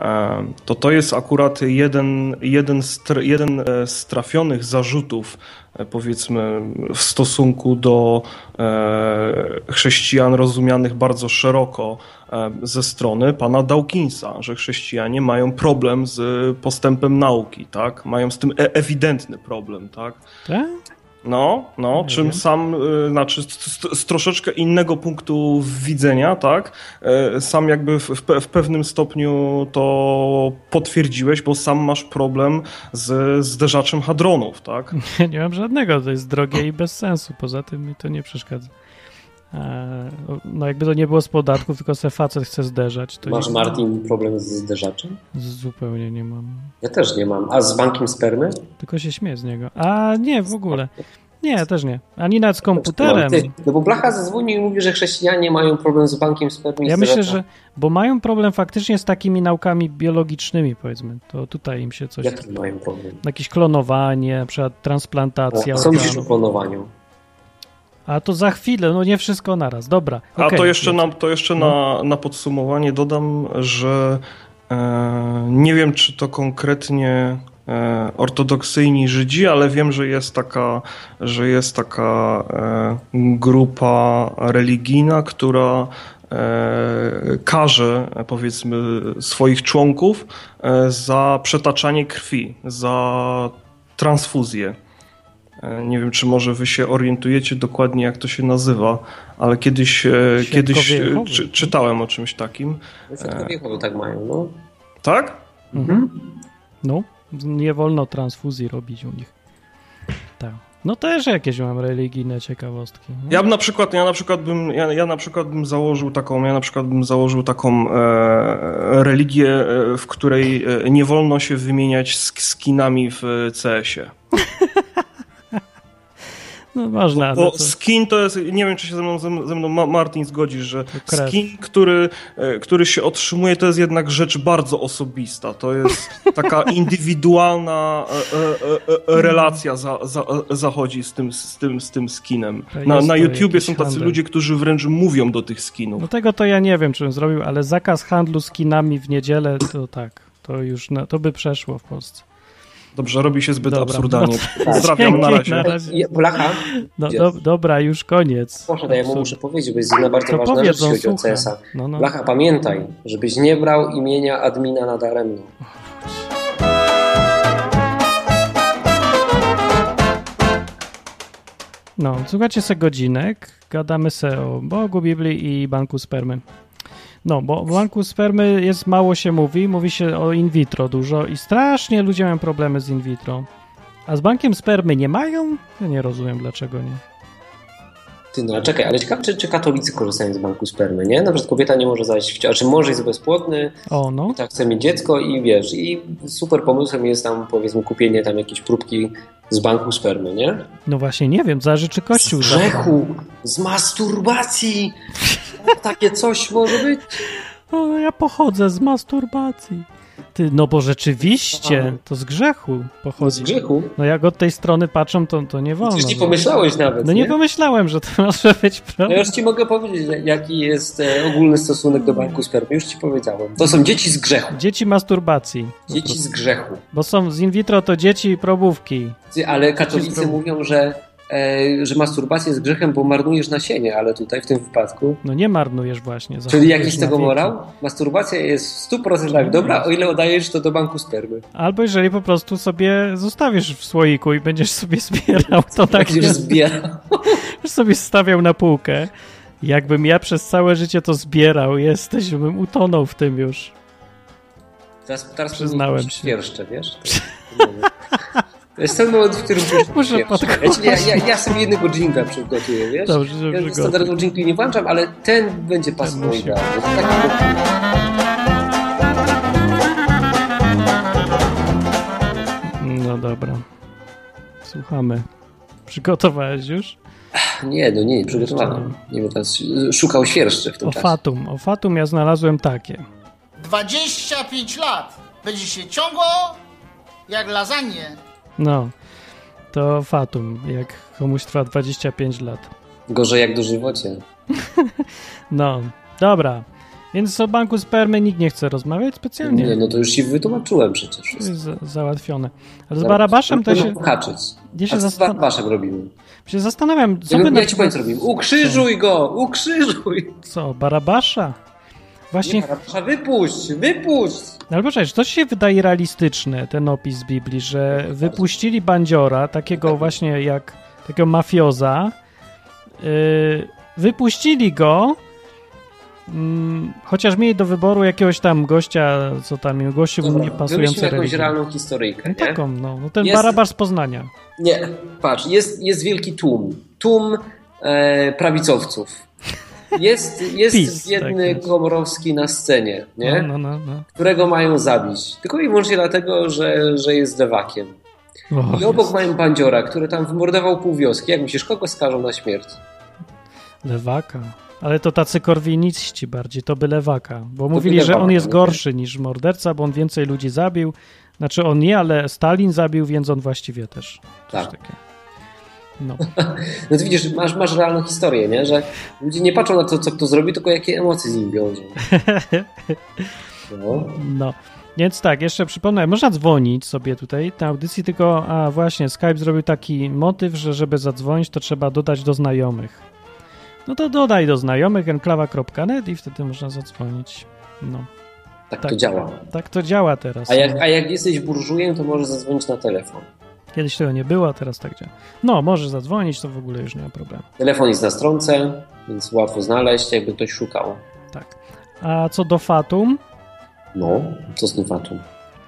S4: e, to to jest akurat jeden, jeden, z, tr- jeden e, z trafionych zarzutów, e, powiedzmy, w stosunku do e, chrześcijan rozumianych bardzo szeroko e, ze strony pana Dawkinsa, że chrześcijanie mają problem z postępem nauki, tak? Mają z tym e- ewidentny problem, tak?
S1: Tak? [LAUGHS]
S4: No, no,
S1: Nie
S4: czym
S1: wiem.
S4: sam, y, znaczy z, z, z troszeczkę innego punktu widzenia, tak? E, Sam jakby w, w, pe- w pewnym stopniu to potwierdziłeś, bo sam masz problem z zderzaczem hadronów, tak?
S1: Ja nie mam żadnego, to jest drogie i bez sensu. Poza tym mi to nie przeszkadza. Eee, No jakby to nie było z podatków, tylko se facet chce zderzać. To
S2: Masz,
S1: nie-
S2: Martin, problem z zderzaczem?
S1: Zupełnie nie mam.
S2: Ja też nie mam. A z bankiem spermy?
S1: Tylko się śmieję z niego. A nie, w ogóle. Nie, też nie. Ani nawet z komputerem.
S2: No, ty, no bo Blacha zadzwonił i mówi, że chrześcijanie mają problem z bankiem spermy. i
S1: Ja
S2: z
S1: myślę,
S2: zderzaczem.
S1: że... Bo mają problem faktycznie z takimi naukami biologicznymi, powiedzmy. To tutaj im się coś...
S2: Jaki mają problem?
S1: Jakieś klonowanie, na przykład transplantacja.
S2: O, co
S1: organów.
S2: myślisz o klonowaniu?
S1: A to za chwilę, no nie wszystko naraz. Dobra.
S4: A
S1: okej.
S4: to jeszcze, na, to jeszcze na, na podsumowanie dodam, że e, nie wiem, czy to konkretnie e, ortodoksyjni Żydzi, ale wiem, że jest taka, że jest taka e, grupa religijna, która e, karze, powiedzmy, swoich członków e, za przetaczanie krwi, za transfuzję. Nie wiem, czy może wy się orientujecie dokładnie, jak to się nazywa, ale kiedyś, e,
S1: Świadkowie
S4: kiedyś e,
S1: Jehowy.
S4: czy, czytałem o czymś takim.
S2: No,
S1: E.
S2: Świadkowie Jehowy tak mają, no.
S4: Tak?
S1: No, nie wolno transfuzji robić u nich. Tak. No też jakieś mam religijne ciekawostki. No.
S4: Ja bym na przykład, ja na przykład bym, ja, ja na przykład bym założył taką, ja na przykład bym założył taką e, religię, e, w której e, nie wolno się wymieniać z skinami w e, CS-ie.
S1: No można, no
S4: Bo
S1: to,
S4: skin to jest, nie wiem czy się ze mną, ze mną- ze mną Ma- Martin zgodzisz, że
S1: krew.
S4: skin, który, e, który się otrzymuje, to jest jednak rzecz bardzo osobista. To jest
S1: [LAUGHS]
S4: taka indywidualna e, e, e, e, relacja za, za, zachodzi z tym, z tym, z tym skinem.
S1: To
S4: Na,
S1: jest
S4: na
S1: to
S4: YouTubie
S1: jakiś
S4: są tacy
S1: handel.
S4: ludzie, którzy wręcz mówią do tych skinów.
S1: no tego to ja nie wiem, czy bym zrobił, ale zakaz handlu skinami w niedzielę, to tak, to już, na, to by przeszło w Polsce.
S4: Dobrze, robi się zbyt
S1: Dobra,
S4: absurdalnie.
S1: no
S4: Pozdrawiam, na
S1: dzięki, na
S4: razie.
S1: razie.
S2: Je- Blacha,
S1: No, do, dobra, już koniec.
S2: proszę, ja mu muszę powiedzieć, bo jest jedna bardzo
S1: To
S2: ważna rzecz,
S1: powiedz,
S2: jeśli
S1: on
S2: chodzi o
S1: słucha.
S2: CS-a.
S1: No, no.
S2: Blacha, pamiętaj, żebyś nie brał imienia admina nadaremno.
S1: No, słuchajcie se godzinek, gadamy se o Bogu, Biblii i banku spermy. No, bo o banku spermy jest mało się mówi, mówi się o in vitro dużo i strasznie ludzie mają problemy z in vitro. A z bankiem spermy nie mają? Ja nie rozumiem dlaczego nie.
S2: Ty, no ale czekaj, ale ciekawe, czy, czy katolicy korzystają z banku spermy, nie? Na przykład kobieta nie może zajść w ciąży, czy mąż jest bezpłodny,
S1: O, no.
S2: tak chce mieć dziecko i wiesz, i super pomysłem jest tam, powiedzmy, kupienie tam jakiejś próbki z banku spermy, nie?
S1: No właśnie, nie wiem, zależy czy
S2: Z
S1: Kościół... za-
S2: grzechu, z masturbacji, takie coś może być.
S1: O, No, ja pochodzę z masturbacji. Ty, no bo rzeczywiście, to z grzechu
S2: No z
S1: pochodzi.
S2: grzechu?
S1: No jak od tej strony patrzą, to, to nie wolno.
S2: Przecież nie pomyślałeś nawet,
S1: No nie pomyślałem, że to [LAUGHS] może być
S2: No
S1: problem.
S2: już ci mogę powiedzieć, jaki jest e, ogólny stosunek do banku spermy. Już ci powiedziałem. To są dzieci z grzechu.
S1: Dzieci masturbacji. po
S2: Dzieci
S1: prostu.
S2: z grzechu.
S1: Bo są z in vitro to dzieci i probówki.
S2: Ty, Ale katolicy
S1: Dzieci z
S2: mówią, że, e, że masturbacja jest grzechem, bo marnujesz nasienie, ale tutaj w tym wypadku.
S1: No nie marnujesz właśnie.
S2: Czyli
S1: zachowujesz
S2: jakiś z
S1: na
S2: tego
S1: wieki.
S2: morał? Masturbacja jest w 100% dobra, o ile oddajesz to do banku spermy.
S1: Albo jeżeli po prostu sobie zostawisz w słoiku i będziesz sobie [LAUGHS] zbierał, to tak
S2: Tak się
S1: się
S2: zbiera.
S1: sobie stawiał na półkę. Jakbym ja przez całe życie to zbierał, jesteś, bym utonął w tym już.
S2: Teraz, teraz
S1: Przyznałem
S2: powinien
S1: się.
S2: Świerszcze, wiesz? To jest ten moment, w którym
S1: [LAUGHS] Muszę
S2: ja, ci- ja, Znaczy, ja, ja sobie jednego dżingla przygotuję, wiesz?
S1: Dobrze, że
S2: Ja
S1: przygotuj.
S2: standardowo dżingli nie włączam, ale ten będzie pasował
S1: musi.
S2: idealnie. Taki-
S1: No dobra. Słuchamy. Przygotowałeś już?
S2: Nie, no nie, przygotowałem. Nie wiem, teraz szukał świerszczy w tym
S1: O
S2: czasie.
S1: Fatum. O Fatum ja znalazłem takie.
S5: 25 lat będzie się ciągło jak lasagne.
S1: No. To Fatum, jak komuś trwa 25 lat.
S2: Gorzej jak dożywocie.
S1: No, dobra. Więc o banku spermy nikt nie chce rozmawiać specjalnie.
S2: Nie, no to już ci wytłumaczyłem przecież
S1: To
S2: wszystko.
S1: jest za- załatwione. Ale z Barabaszem to się,
S2: Haczyć.
S1: ja się,
S2: No A co z
S1: zastan-
S2: Barabaszem robimy?
S1: się zastanawiam, co
S2: Ja,
S1: by
S2: bym-
S1: na
S2: ja ci powiem, co robimy. Ukrzyżuj go! Ukrzyżuj!
S1: Co, Barabasza? Właśnie,
S2: Nie, Barabasza, wypuść! Wypuść!
S1: No ale poczekaj, czy to się wydaje realistyczne, ten opis z Biblii, że wypuścili bandziora, takiego właśnie jak, takiego mafioza, yy, wypuścili go, mm, chociaż mieli do wyboru jakiegoś tam gościa, co tam im gościu mu
S2: Dobra,
S1: nie
S2: wymyślmy
S1: pasujące
S2: No, jakąś
S1: religie.
S2: realną historyjkę,
S1: No
S2: nie?
S1: taką, no, no ten
S2: Jest-
S1: Barabasz z Poznania.
S2: Nie, patrz, jest, jest wielki tłum. Tłum e, prawicowców.
S1: [LAUGHS]
S2: Jest, jest
S1: PiS,
S2: biedny
S1: tak jest.
S2: Komorowski na scenie, nie?
S1: No, no, no,
S2: którego mają zabić. Tylko i wyłącznie dlatego, że, że jest lewakiem.
S1: no. O,
S2: I obok mają bandziora, który tam wymordował pół wioski. Jak myślisz, kogo skażą na śmierć?
S1: Lewaka. Ale to tacy korwiniści bardziej, to by lewaka. Bo
S2: by
S1: mówili, że
S2: lewaka,
S1: on jest
S2: no.
S1: gorszy niż morderca, bo on więcej ludzi zabił. Znaczy on nie, ale Stalin zabił, więc on właściwie też. Coś
S2: Tak.
S1: takie. No.
S2: No to widzisz, masz, masz realną historię, nie? Że ludzie nie patrzą na to, co kto zrobi, tylko jakie emocje z nim
S1: [LAUGHS]
S2: wiążą. No.
S1: no. Więc tak, jeszcze przypomnę, można dzwonić sobie tutaj na audycji, tylko a właśnie Skype zrobił taki motyw, że żeby zadzwonić, to trzeba dodać do znajomych. No to dodaj do znajomych enklawa.net i wtedy można zadzwonić. No.
S2: Tak,
S1: Tak.
S2: to działa.
S1: Tak to działa teraz.
S2: A jak, a jak jesteś burżujem, to możesz zadzwonić na telefon.
S1: Kiedyś tego nie było, a teraz tak działa. No, możesz zadzwonić, to w ogóle już nie ma problemu.
S2: Telefon jest na stronce, więc łatwo znaleźć, jakby ktoś szukał.
S1: Tak. A co do Fatum,
S2: No, co z tym fatum?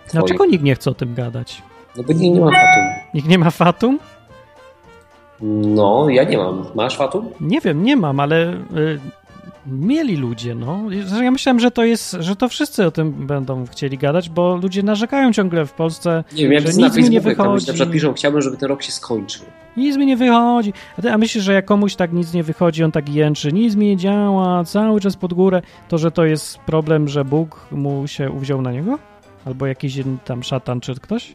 S2: Twoim.
S1: dlaczego nikt nie chce o tym gadać?
S2: No bo nie, nie ma fatum.
S1: Nikt nie ma Fatum?
S2: No, ja nie mam. Masz fatum?
S1: Nie wiem, nie mam, ale y, mieli ludzie, no. Zresztą Ja myślałem, że to jest, że to wszyscy o tym będą chcieli gadać, bo ludzie narzekają ciągle w Polsce,
S2: Nie wiem, ja
S1: Że
S2: widzę na
S1: nic mi nie
S2: Facebooku, tam ludzie na
S1: wychodzi.
S2: przykład piszą, chciałbym, żeby ten rok się skończył.
S1: nic mi nie wychodzi. A, ty, a myślisz, że jak komuś tak nic nie wychodzi, on tak jęczy, nic mi nie działa, cały czas pod górę, to że to jest problem, że Bóg mu się uwziął na niego? Albo jakiś inny tam szatan czy ktoś?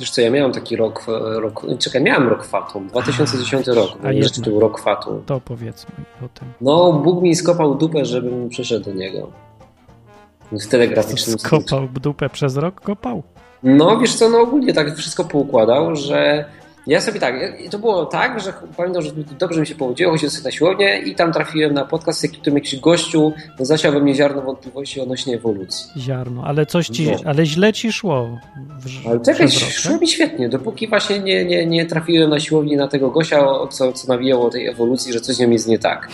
S2: Wiesz co, ja miałem taki rok, e, rok czekaj, miałem rok fatum, 2010 rok,
S1: a
S2: a
S1: jednak.
S2: jeszcze był rok fatum.
S1: To powiedzmy o tym.
S2: No, Bóg mi skopał dupę, żebym przyszedł do niego. W telegraficznym sensie.
S1: Skopał dupę przez rok, kopał.
S2: No, wiesz co, no ogólnie tak wszystko poukładał, że ja sobie tak, ja- to było tak, że pamiętam, że dobrze mi się powodziło, chodziłem sobie na siłownię i tam trafiłem na podcast, jaki którym jakiś gościu zasiał we mnie ziarno wątpliwości odnośnie ewolucji.
S1: Ziarno, ale coś ci,
S2: No.
S1: ale źle ci szło. W,
S2: Ale czekaj,
S1: przez rok,
S2: szło mi świetnie, dopóki właśnie nie, nie, nie trafiłem na siłowni na tego gościa, o- co, co nawijało o tej ewolucji, że coś z nią jest nie tak.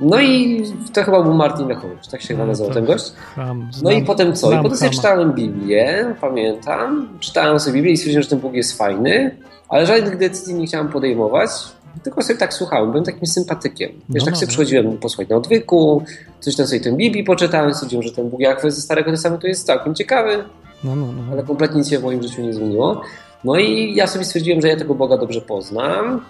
S2: No i to chyba był Martin Lechowicz, tak się chyba
S1: No,
S2: nazywał
S1: to-
S2: ten gość.
S1: Cham,
S2: No
S1: znam-
S2: i potem co? I
S1: znam
S2: potem sobie
S1: chama.
S2: czytałem Biblię, pamiętam, czytałem sobie Biblię i stwierdziłem, że ten Bóg jest fajny, ale żadnych decyzji nie chciałem podejmować, tylko sobie tak słuchałem, byłem takim sympatykiem. Wiesz,
S1: No,
S2: tak
S1: no,
S2: sobie
S1: no.
S2: przychodziłem posłuchać na odwyku, coś tam sobie tę Biblii poczytałem, stwierdziłem, że ten Bóg Jakwe ze Starego Testamentu jest całkiem ciekawy,
S1: No, no, no.
S2: ale kompletnie nic się w moim życiu nie zmieniło. No i ja sobie stwierdziłem, że ja tego Boga dobrze poznam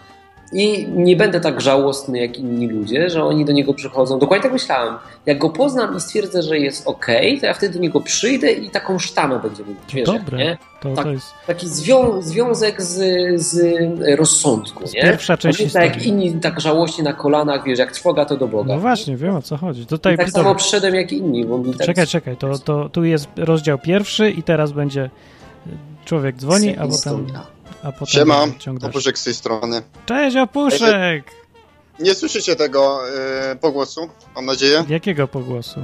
S2: i nie będę tak żałosny jak inni ludzie, że oni do niego przychodzą. Dokładnie tak myślałem. Jak go poznam i stwierdzę, że jest okej, to ja wtedy do niego przyjdę i taką sztamę będziemy mieć. Wiesz, jak,
S1: dobre.
S2: nie?
S1: To,
S2: tak.
S1: to jest
S2: Taki zwią związek z, z rozsądku.
S1: To jest
S2: nie?
S1: pierwsza część
S2: Pamiętaj, jak
S1: historii.
S2: inni tak żałośnie na kolanach, wiesz, jak trwoga to do Boga.
S1: No właśnie, wiem o co chodzi.
S2: I
S1: Tutaj
S2: tak samo przyszedłem jak inni. Bo mi tak
S1: Czekaj, czekaj, to, to tu jest rozdział pierwszy i teraz będzie y, człowiek dzwoni, a potem,
S2: historia.
S1: a potem
S6: Siema,
S1: ciągniesz.
S6: opuszek z tej strony.
S1: Cześć, opuszek!
S6: Nie słyszycie tego y, pogłosu, mam nadzieję?
S1: Jakiego pogłosu?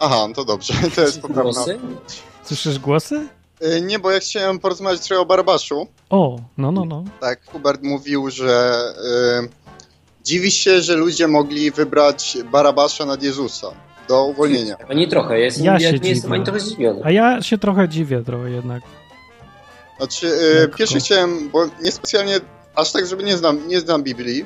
S6: Aha, no to dobrze, [LAUGHS] to jest poprawna.
S2: Głosy?
S1: Słyszysz głosy?
S6: Y, nie, bo ja chciałem porozmawiać trochę o Barbaszu.
S1: O, no, no, no.
S6: Tak, Hubert mówił, że y, dziwi się, że ludzie mogli wybrać Barabasza nad Jezusa do uwolnienia.
S2: Ani No trochę, ja, jestem,
S1: Ja
S2: ja,
S1: się
S2: nie jestem
S1: dziwię.
S2: ani trochę zdziwiony.
S1: A ja się trochę dziwię trochę jednak.
S6: Znaczy, y,
S1: Lekko.
S6: pierwszy chciałem, bo niespecjalnie, aż tak, żeby nie znam, nie znam Biblii,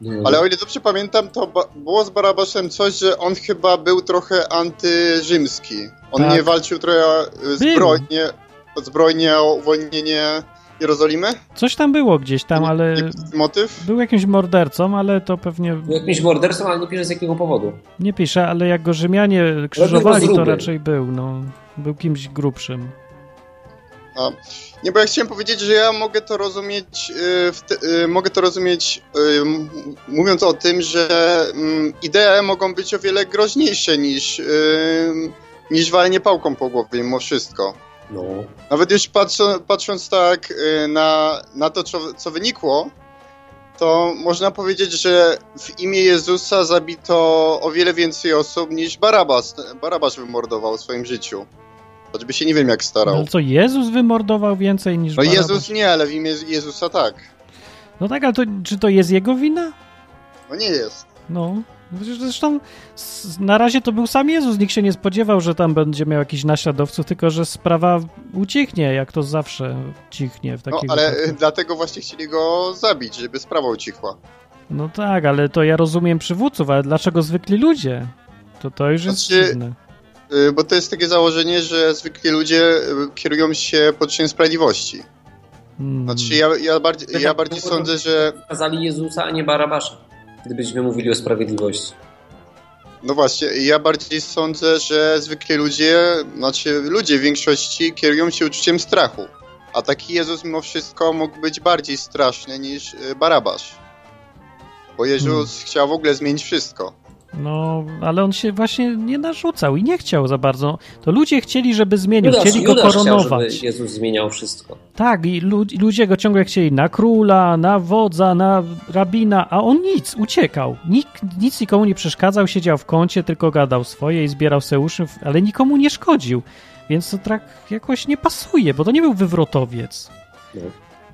S2: Nie.
S1: Mhm.
S6: ale o ile dobrze pamiętam, to ba- było z Barabaszem coś, że on chyba był trochę antyrzymski. On
S1: Tak.
S6: nie walczył trochę y, zbrojnie, zbrojnie o uwolnienie Jerozolimy?
S1: Coś tam było gdzieś tam, ale
S6: Jaki jest motyw?
S1: był jakimś mordercą, ale to pewnie
S2: Był jakimś mordercą, ale nie pisze z jakiego powodu.
S1: nie pisze, ale jak go Rzymianie krzyżowali, to
S2: rozruby.
S1: raczej był, no. Był kimś grubszym.
S6: Nie, bo ja chciałem powiedzieć, że ja mogę to rozumieć, y, w te, y, mogę to rozumieć y, m- mówiąc o tym, że mm, idee mogą być o wiele groźniejsze niż, y, niż walenie pałką po głowie mimo wszystko.
S2: No.
S6: Nawet już patrzą, patrząc tak y, na, na to, co, co wynikło, to można powiedzieć, że w imię Jezusa zabito o wiele więcej osób niż Barabas. Barabasz wymordował w swoim życiu. Choćby się nie wiem jak
S1: No,
S6: starał.
S1: ale co, Jezus wymordował więcej niż
S6: No
S1: Barabbas?
S6: Jezus nie, ale w imię Jezusa tak.
S1: No tak, ale to, czy to jest jego wina?
S6: No nie jest.
S1: No. Przecież Zresztą s- na razie to był sam Jezus. Nikt się nie spodziewał, że tam będzie miał jakiś naśladowców, tylko że sprawa ucichnie, jak to zawsze cichnie w
S6: No
S1: takiej
S6: ale y, dlatego właśnie chcieli go zabić, żeby sprawa ucichła.
S1: No tak, ale to ja rozumiem przywódców, ale dlaczego zwykli ludzie? To to już jest
S6: Znaczy-
S1: dziwne.
S6: Y, Bo to jest takie założenie, że zwykli ludzie y, kierują się poczuciem sprawiedliwości.
S1: Hmm.
S6: Znaczy ja, ja bardziej, ja
S2: Taka-
S6: bardziej sądzę, że
S2: Kazali Jezusa, a nie Barabasza. Gdybyśmy mówili o sprawiedliwości.
S6: No właśnie, ja bardziej sądzę, że zwykli ludzie, znaczy ludzie w większości kierują się uczuciem strachu. A taki Jezus mimo wszystko mógł być bardziej straszny niż y, Barabasz. Bo Jezus
S1: Hmm.
S6: chciał w ogóle zmienić wszystko.
S1: No, ale on się właśnie nie narzucał i nie chciał za bardzo. To ludzie chcieli, żeby zmienił,
S2: Judasz,
S1: chcieli go
S2: Judasz chciał, żeby
S1: koronować.
S2: Jezus zmieniał wszystko.
S1: Tak, i lud- ludzie go ciągle chcieli na króla, na wodza, na rabina, a on nic, uciekał. Nikt, nic nikomu nie przeszkadzał, siedział w kącie, tylko gadał swoje i zbierał seuszy, ale nikomu nie szkodził. Więc to tak jakoś nie pasuje, bo to nie był wywrotowiec.
S2: No.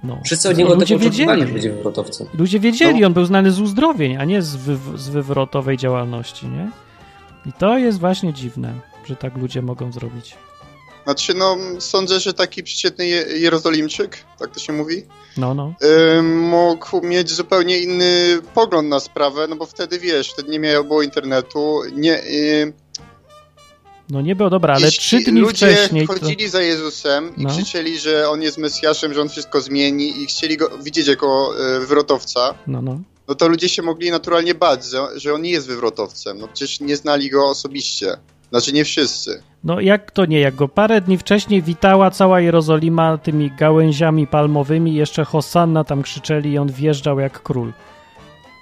S1: No.
S2: Wszyscy od niego
S1: Ludzie
S2: tego oczekiwali,
S1: wiedzieli.
S2: że będzie wywrotowcem.
S1: Ludzie wiedzieli,
S6: No.
S1: on był znany z uzdrowień, a nie z, wyw- z wywrotowej działalności, nie? I to jest właśnie dziwne, że tak ludzie mogą zrobić.
S6: Znaczy, no, sądzę, że taki przeciętny Je- Jerozolimczyk, tak to się mówi,
S1: No, no.
S6: y, mógł mieć zupełnie inny pogląd na sprawę, no bo wtedy wiesz, wtedy nie miało było internetu, nie. y,
S1: No nie było dobra, ale
S6: jeśli
S1: trzy dni
S6: ludzie
S1: wcześniej. To...
S6: chodzili za Jezusem i
S1: No.
S6: krzyczeli, że on jest Mesjaszem, że on wszystko zmieni i chcieli go widzieć jako y, wywrotowca,
S1: No, no.
S6: no to ludzie się mogli naturalnie bać, że, że on nie jest wywrotowcem. No przecież nie znali go osobiście. Znaczy nie wszyscy.
S1: No jak to nie, jak go parę dni wcześniej witała cała Jerozolima tymi gałęziami palmowymi, jeszcze Hosanna tam krzyczeli i on wjeżdżał jak król.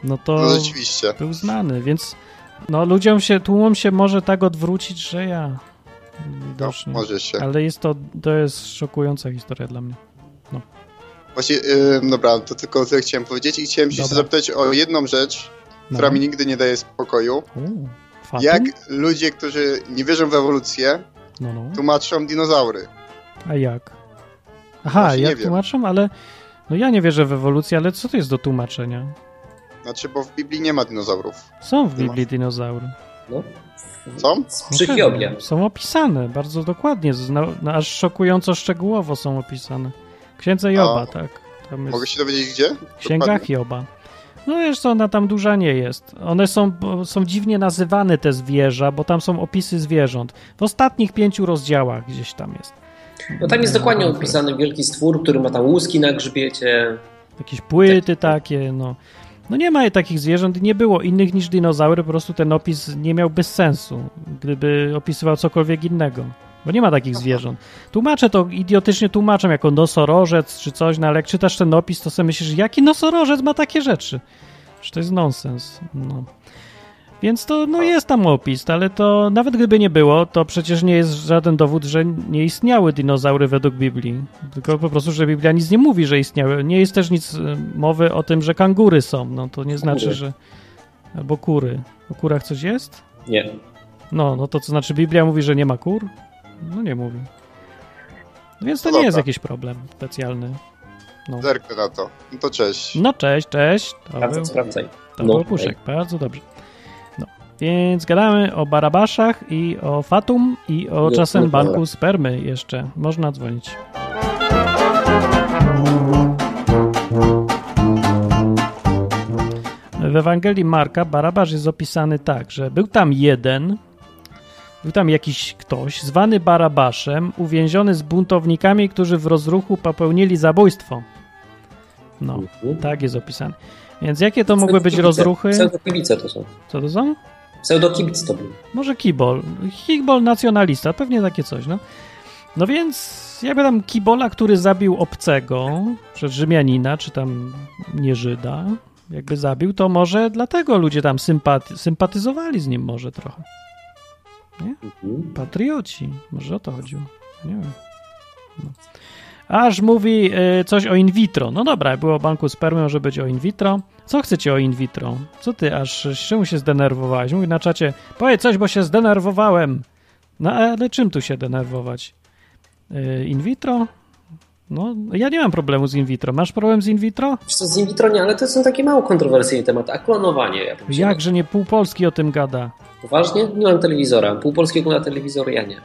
S1: No to
S6: No rzeczywiście.
S1: był znany, więc no ludziom się, tłumom się może tak odwrócić, że ja
S6: No,
S1: widocznie.
S6: może się.
S1: Ale jest to, to jest szokująca historia dla mnie.
S6: Właśnie, yy, dobra, to tylko tyle chciałem powiedzieć i chciałem się
S1: Dobra.
S6: zapytać o jedną rzecz,
S1: No.
S6: która mi nigdy nie daje spokoju.
S1: U, fatum?
S6: Jak ludzie, którzy nie wierzą w ewolucję,
S1: No, no.
S6: tłumaczą dinozaury?
S1: A jak? Aha,
S6: Właśnie nie
S1: jak
S6: wiem.
S1: tłumaczą, ale no ja nie wierzę w ewolucję, ale co to jest do tłumaczenia?
S6: Znaczy, bo w Biblii nie ma dinozaurów.
S1: Są w
S6: Nie ma.
S1: Biblii dinozaury.
S2: No.
S6: Co?
S1: No
S2: Przy
S1: pewnie.
S2: Hiobie.
S1: Są opisane bardzo dokładnie, zna, no, aż szokująco szczegółowo są opisane. Księdze Joba,
S6: A,
S1: tak. Tam jest
S6: No. Mogę się dowiedzieć gdzie?
S1: Księga
S6: Dokładnie.
S1: Hioba. No wiesz co, ona tam duża nie jest. One są, bo są dziwnie nazywane te zwierza, bo tam są opisy zwierząt. W ostatnich pięciu rozdziałach gdzieś tam jest.
S2: No tam jest dokładnie opisany wielki stwór, który ma tam łuski na grzbiecie.
S1: Jakieś płyty takie, no. No nie ma takich zwierząt, nie było innych niż dinozaury, po prostu ten opis nie miałby sensu, gdyby opisywał cokolwiek innego, bo nie ma takich zwierząt. Tłumaczę to, idiotycznie tłumaczę jako nosorożec czy coś, no ale jak czytasz ten opis, to sobie myślisz, jaki nosorożec ma takie rzeczy? Przecież to jest nonsens, no. Więc to, no jest tam opis, ale to nawet gdyby nie było, to przecież nie jest żaden dowód, że nie istniały dinozaury według Biblii. Tylko po prostu, że Biblia nic nie mówi, że istniały. Nie jest też nic y, mowy o tym, że kangury są. No to nie znaczy, że... Albo kury. O kurach coś jest?
S2: Nie.
S1: No, no to co znaczy Biblia mówi, że nie ma kur? No nie mówi. Więc to
S6: No
S1: nie
S6: dobra.
S1: jest jakiś problem specjalny. No,
S6: Zerknę na to. No to cześć.
S1: no cześć, cześć. To był-
S2: Sprawdzaj, sprawdzaj.
S1: to
S2: No,
S1: był Puszek, bardzo dobrze. No. Więc gadamy o Barabaszach i o Fatum i o
S2: Nie,
S1: czasem
S2: nie,
S1: banku
S2: dobra.
S1: spermy jeszcze. Można dzwonić. W Ewangelii Marka Barabasz jest opisany tak, że był tam jeden, był tam jakiś ktoś zwany Barabaszem, uwięziony z buntownikami, którzy w rozruchu popełnili zabójstwo. No,
S2: Mhm.
S1: tak jest opisane. Więc jakie to mogły być
S2: Pseudokibice.
S1: rozruchy?
S2: Pseudokibice to są.
S1: Co to są?
S2: Pseudokibic to był.
S1: Może kibol. Kibol nacjonalista, pewnie takie coś, no. No więc jakby tam kibola, który zabił obcego, przed Rzymianina, czy tam nie Żyda, jakby zabił, to może dlatego ludzie tam sympaty, sympatyzowali z nim może trochę.
S2: Mhm.
S1: Patrioci, może o to chodziło. Nie wiem. No. Aż mówi y, coś o in vitro. No dobra, było o banku spermy, może być o in vitro. Co chcecie o in vitro? Co ty aż z czemu się zdenerwowałeś? Mówi na czacie, powiedz coś, bo się zdenerwowałem. No ale czym tu się denerwować? Y, in vitro? No, ja nie mam problemu z in vitro. Masz problem z in vitro?
S2: Wiesz co, z in vitro nie, ale to są takie mało kontrowersyjne tematy. A klonowanie, ja bym się-
S1: Jakże nie pół Polski o tym gada. [LAUGHS]
S2: Poważnie? Nie mam telewizora. Pół polskiego na telewizor, ja nie.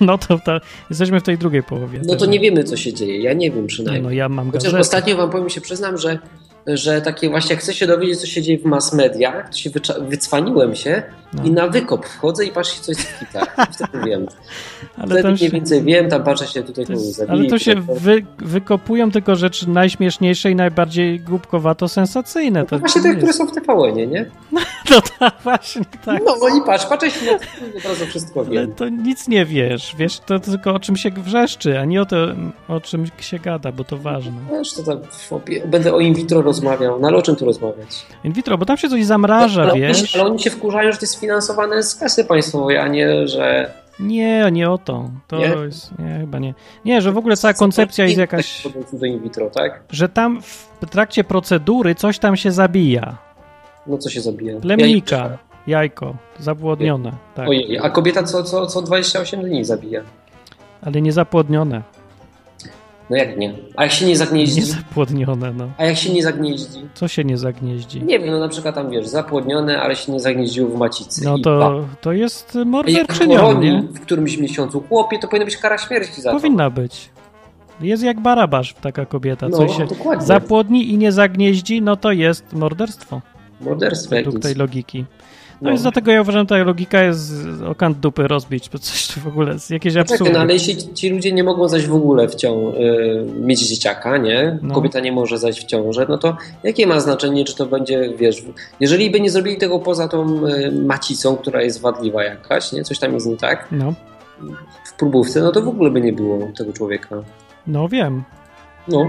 S1: No to, to jesteśmy w tej drugiej połowie.
S2: No to nie wiemy, co się dzieje. Ja nie wiem przynajmniej.
S1: No ja mam
S2: Chociaż
S1: gazetę.
S2: ostatnio wam powiem się, przyznam, że, że takie właśnie, jak chcę się dowiedzieć, co się dzieje w mass mediach, to się wycza- wycwaniłem się
S1: No.
S2: i na wykop wchodzę i patrzę, coś w kitach. I Wtedy wiem.
S1: Ale
S2: Wtedy
S1: tam
S2: mniej
S1: się...
S2: więcej wiem, tam patrzę się tutaj
S1: To
S2: kogoś
S1: jest,
S2: zabili,
S1: ale to się
S2: tutaj
S1: wy, wykopują tylko rzeczy najśmieszniejsze i najbardziej głupkowato sensacyjne.
S2: No
S1: To
S2: właśnie
S1: to
S2: te, które
S1: jest.
S2: są w TVN, nie?
S1: [LAUGHS] No tak, właśnie tak.
S2: No i patrz, patrzę się na to i od razu wszystko
S1: Ale
S2: wiem.
S1: to nic nie wiesz. Wiesz to tylko o czym się wrzeszczy, a nie o to, o czym się gada, bo to ważne.
S2: Wiesz, to tam w opie- będę o in vitro rozmawiał. No ale o czym tu rozmawiać?
S1: In vitro, bo tam się coś zamraża,
S2: ale, Oni
S1: wiesz?
S2: się, ale oni się wkurzają, że to jest finansowane z kasy państwowej, a nie, że...
S1: Nie, nie o to. To
S2: Nie?
S1: jest, nie, chyba nie. Nie, że w ogóle cała koncepcja jest jakaś,
S2: Do in vitro, tak?
S1: że tam w trakcie procedury coś tam się zabija.
S2: No co się zabija?
S1: Plemnika, jajko, zabłodnione. Tak.
S2: Ojej, a kobieta co, co, co 28 dni zabija.
S1: Ale nie zapłodnione.
S2: No jak nie? A jak się nie zagnieździ?
S1: Nie zapłodnione, no.
S2: A jak się nie zagnieździ?
S1: Co się nie zagnieździ?
S2: Nie wiem, no na przykład tam wiesz, zapłodnione, ale się nie zagnieździło w macicy.
S1: No
S2: I pa.
S1: to, to jest
S2: A jak
S1: morderczynią,
S2: poroni
S1: nie?
S2: w którymś miesiącu chłopie, to powinna być kara śmierci za
S1: Powinna być. Jest jak barabasz taka kobieta,
S2: to.
S1: co się
S2: No, dokładnie.
S1: zapłodni i nie zagnieździ, no to jest morderstwo
S2: Morderstwo jakieś.
S1: według tej logiki. No,
S2: No.
S1: więc dlatego ja uważam, ta logika jest o kant dupy rozbić, bo coś to w ogóle jest jakieś
S2: Czekaj,
S1: absurdy.
S2: no ale jeśli ci ludzie nie mogą zaś w ogóle w cią- y, mieć dzieciaka, nie?
S1: No.
S2: Kobieta nie może zaś w ciążę, no to jakie ma znaczenie, czy to będzie, wiesz, jeżeli by nie zrobili tego poza tą y, macicą, która jest wadliwa jakaś, nie? Coś tam jest nie tak
S1: No,
S2: w próbówce, no to w ogóle by nie było tego człowieka.
S1: no wiem.
S2: No,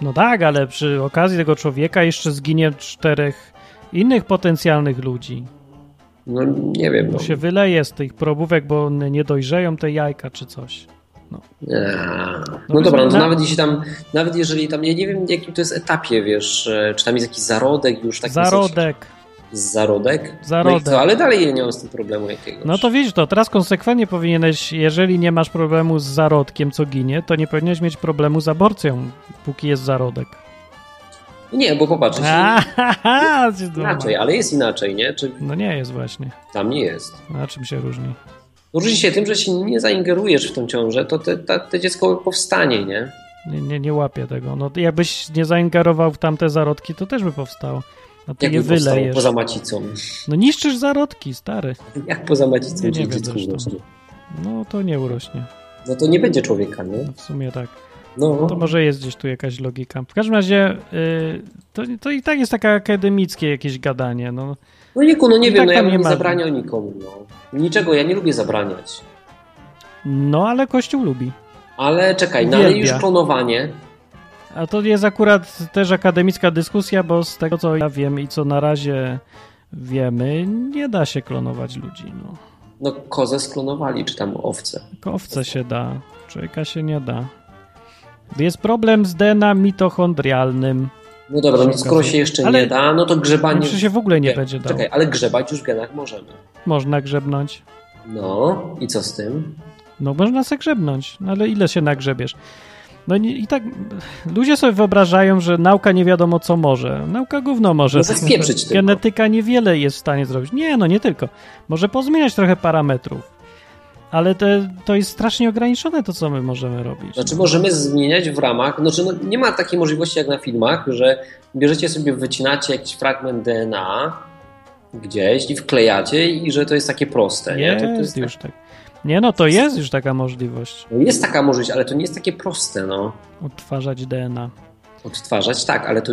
S1: No tak, ale przy okazji tego człowieka jeszcze zginie czterech innych potencjalnych ludzi.
S2: no nie wiem.
S1: Bo
S2: No.
S1: się wyleje z tych probówek, bo one nie dojrzeją te jajka czy coś.
S2: Eee,
S1: No
S2: No dobra, no to
S1: na-
S2: nawet jeśli tam, nawet jeżeli tam, ja nie wiem jakim to jest etapie, wiesz, e, czy tam jest jakiś zarodek już taki
S1: Zarodek.
S2: Zarodek? Tak No i
S1: Zarodek.
S2: co? Ale dalej ja nie mam z tym problemu jakiegoś.
S1: No to widzisz to, teraz konsekwentnie powinieneś, jeżeli nie masz problemu z zarodkiem, co ginie, to nie powinieneś mieć problemu z aborcją, póki jest zarodek.
S2: Nie, bo popatrz, jeśli-
S1: [LAUGHS] Aha, się duma.
S2: inaczej, ale jest inaczej, nie? Czy
S1: No nie jest właśnie.
S2: tam nie jest.
S1: Na czym się różni?
S2: Różni się tym, że się nie zaingerujesz w tą ciążę, to te, ta, te dziecko powstanie, nie?
S1: Nie, nie, nie łapię tego. No jakbyś nie zaingerował w tamte zarodki, to też by powstało. A ty
S2: Jak
S1: je
S2: by powstało
S1: wylejesz.
S2: poza macicą. [LAUGHS]
S1: No niszczysz zarodki, stary.
S2: Jak poza macicą
S1: Nie,
S2: czy
S1: nie wiem
S2: dziecku
S1: zresztą.
S2: urośnie?
S1: No to nie urośnie.
S2: No to nie będzie człowieka, nie?
S1: No, w sumie tak.
S2: No,
S1: To może jest gdzieś tu jakaś logika. W każdym razie y, to, to i tak jest takie akademickie jakieś gadanie. No,
S2: no Niku, no nie
S1: I
S2: wiem,
S1: tak
S2: no ja
S1: tam
S2: bym
S1: nie
S2: nie
S1: ma-
S2: zabraniał nikomu, no. Niczego, ja nie lubię zabraniać.
S1: no ale Kościół lubi.
S2: Ale czekaj, no ale
S1: Uwielbia.
S2: już klonowanie.
S1: A to jest akurat też akademicka dyskusja, bo z tego co ja wiem i co na razie wiemy, nie da się klonować ludzi. No.
S2: No kozę sklonowali, czy tam owce.
S1: Tylko owce się da, człowieka się nie da. Jest problem z DNA mitochondrialnym.
S2: No dobra, no skoro się jeszcze
S1: Ale-
S2: nie da, no to grzebanie...
S1: Znaczy się w ogóle nie będzie dało.
S2: Czekaj, ale grzebać już w genach możemy.
S1: Można grzebnąć.
S2: No, i co z tym?
S1: No można se grzebnąć, no ale ile się nagrzebiesz? No nie- i tak ludzie sobie wyobrażają, że nauka nie wiadomo co może. Nauka gówno może.
S2: No zaspieprzyć tylko.
S1: Genetyka niewiele jest w stanie zrobić. Nie, no nie tylko. Może pozmieniać trochę parametrów. Ale te, to jest strasznie ograniczone to, co my możemy robić.
S2: Znaczy możemy zmieniać w ramach, znaczy no, nie ma takiej możliwości jak na filmach, że bierzecie sobie, wycinacie jakiś fragment DNA gdzieś i wklejacie i że to jest takie proste, nie? To, to
S1: jest już tak. Nie no, to jest już taka możliwość.
S2: No, jest taka możliwość, ale to nie jest takie proste, no.
S1: Odtwarzać DNA.
S2: Odtwarzać, tak, ale to,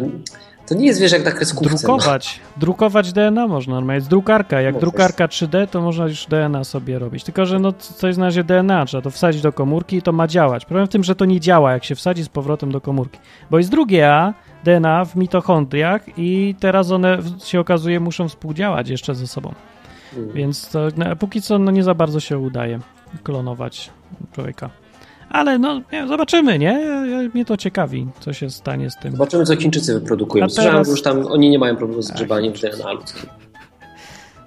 S2: to nie jest, wiesz, jak na kreskówce. No.
S1: Drukować. Drukować DNA można normalnie. Jest drukarka. Jak
S2: No,
S1: drukarka 3D, to można już DNA sobie robić. Tylko, że no, c- to jest na razie DNA. Trzeba to wsadzić do komórki i to ma działać. Problem w tym, że to nie działa, jak się wsadzi z powrotem do komórki. Bo jest drugie A, DNA w mitochondriach i teraz one w- się okazuje muszą współdziałać jeszcze ze sobą.
S2: Mm.
S1: Więc to, no, póki co no, nie za bardzo się udaje klonować człowieka. Ale no, nie, zobaczymy, nie? Ja- ja- Mnie to ciekawi, co się stanie z tym.
S2: Zobaczymy, co Chińczycy wyprodukują.
S1: A teraz-
S2: Słyszałem, że już tam oni nie mają problemu z
S1: Ach,
S2: grzebaniem w DNA ludzkim.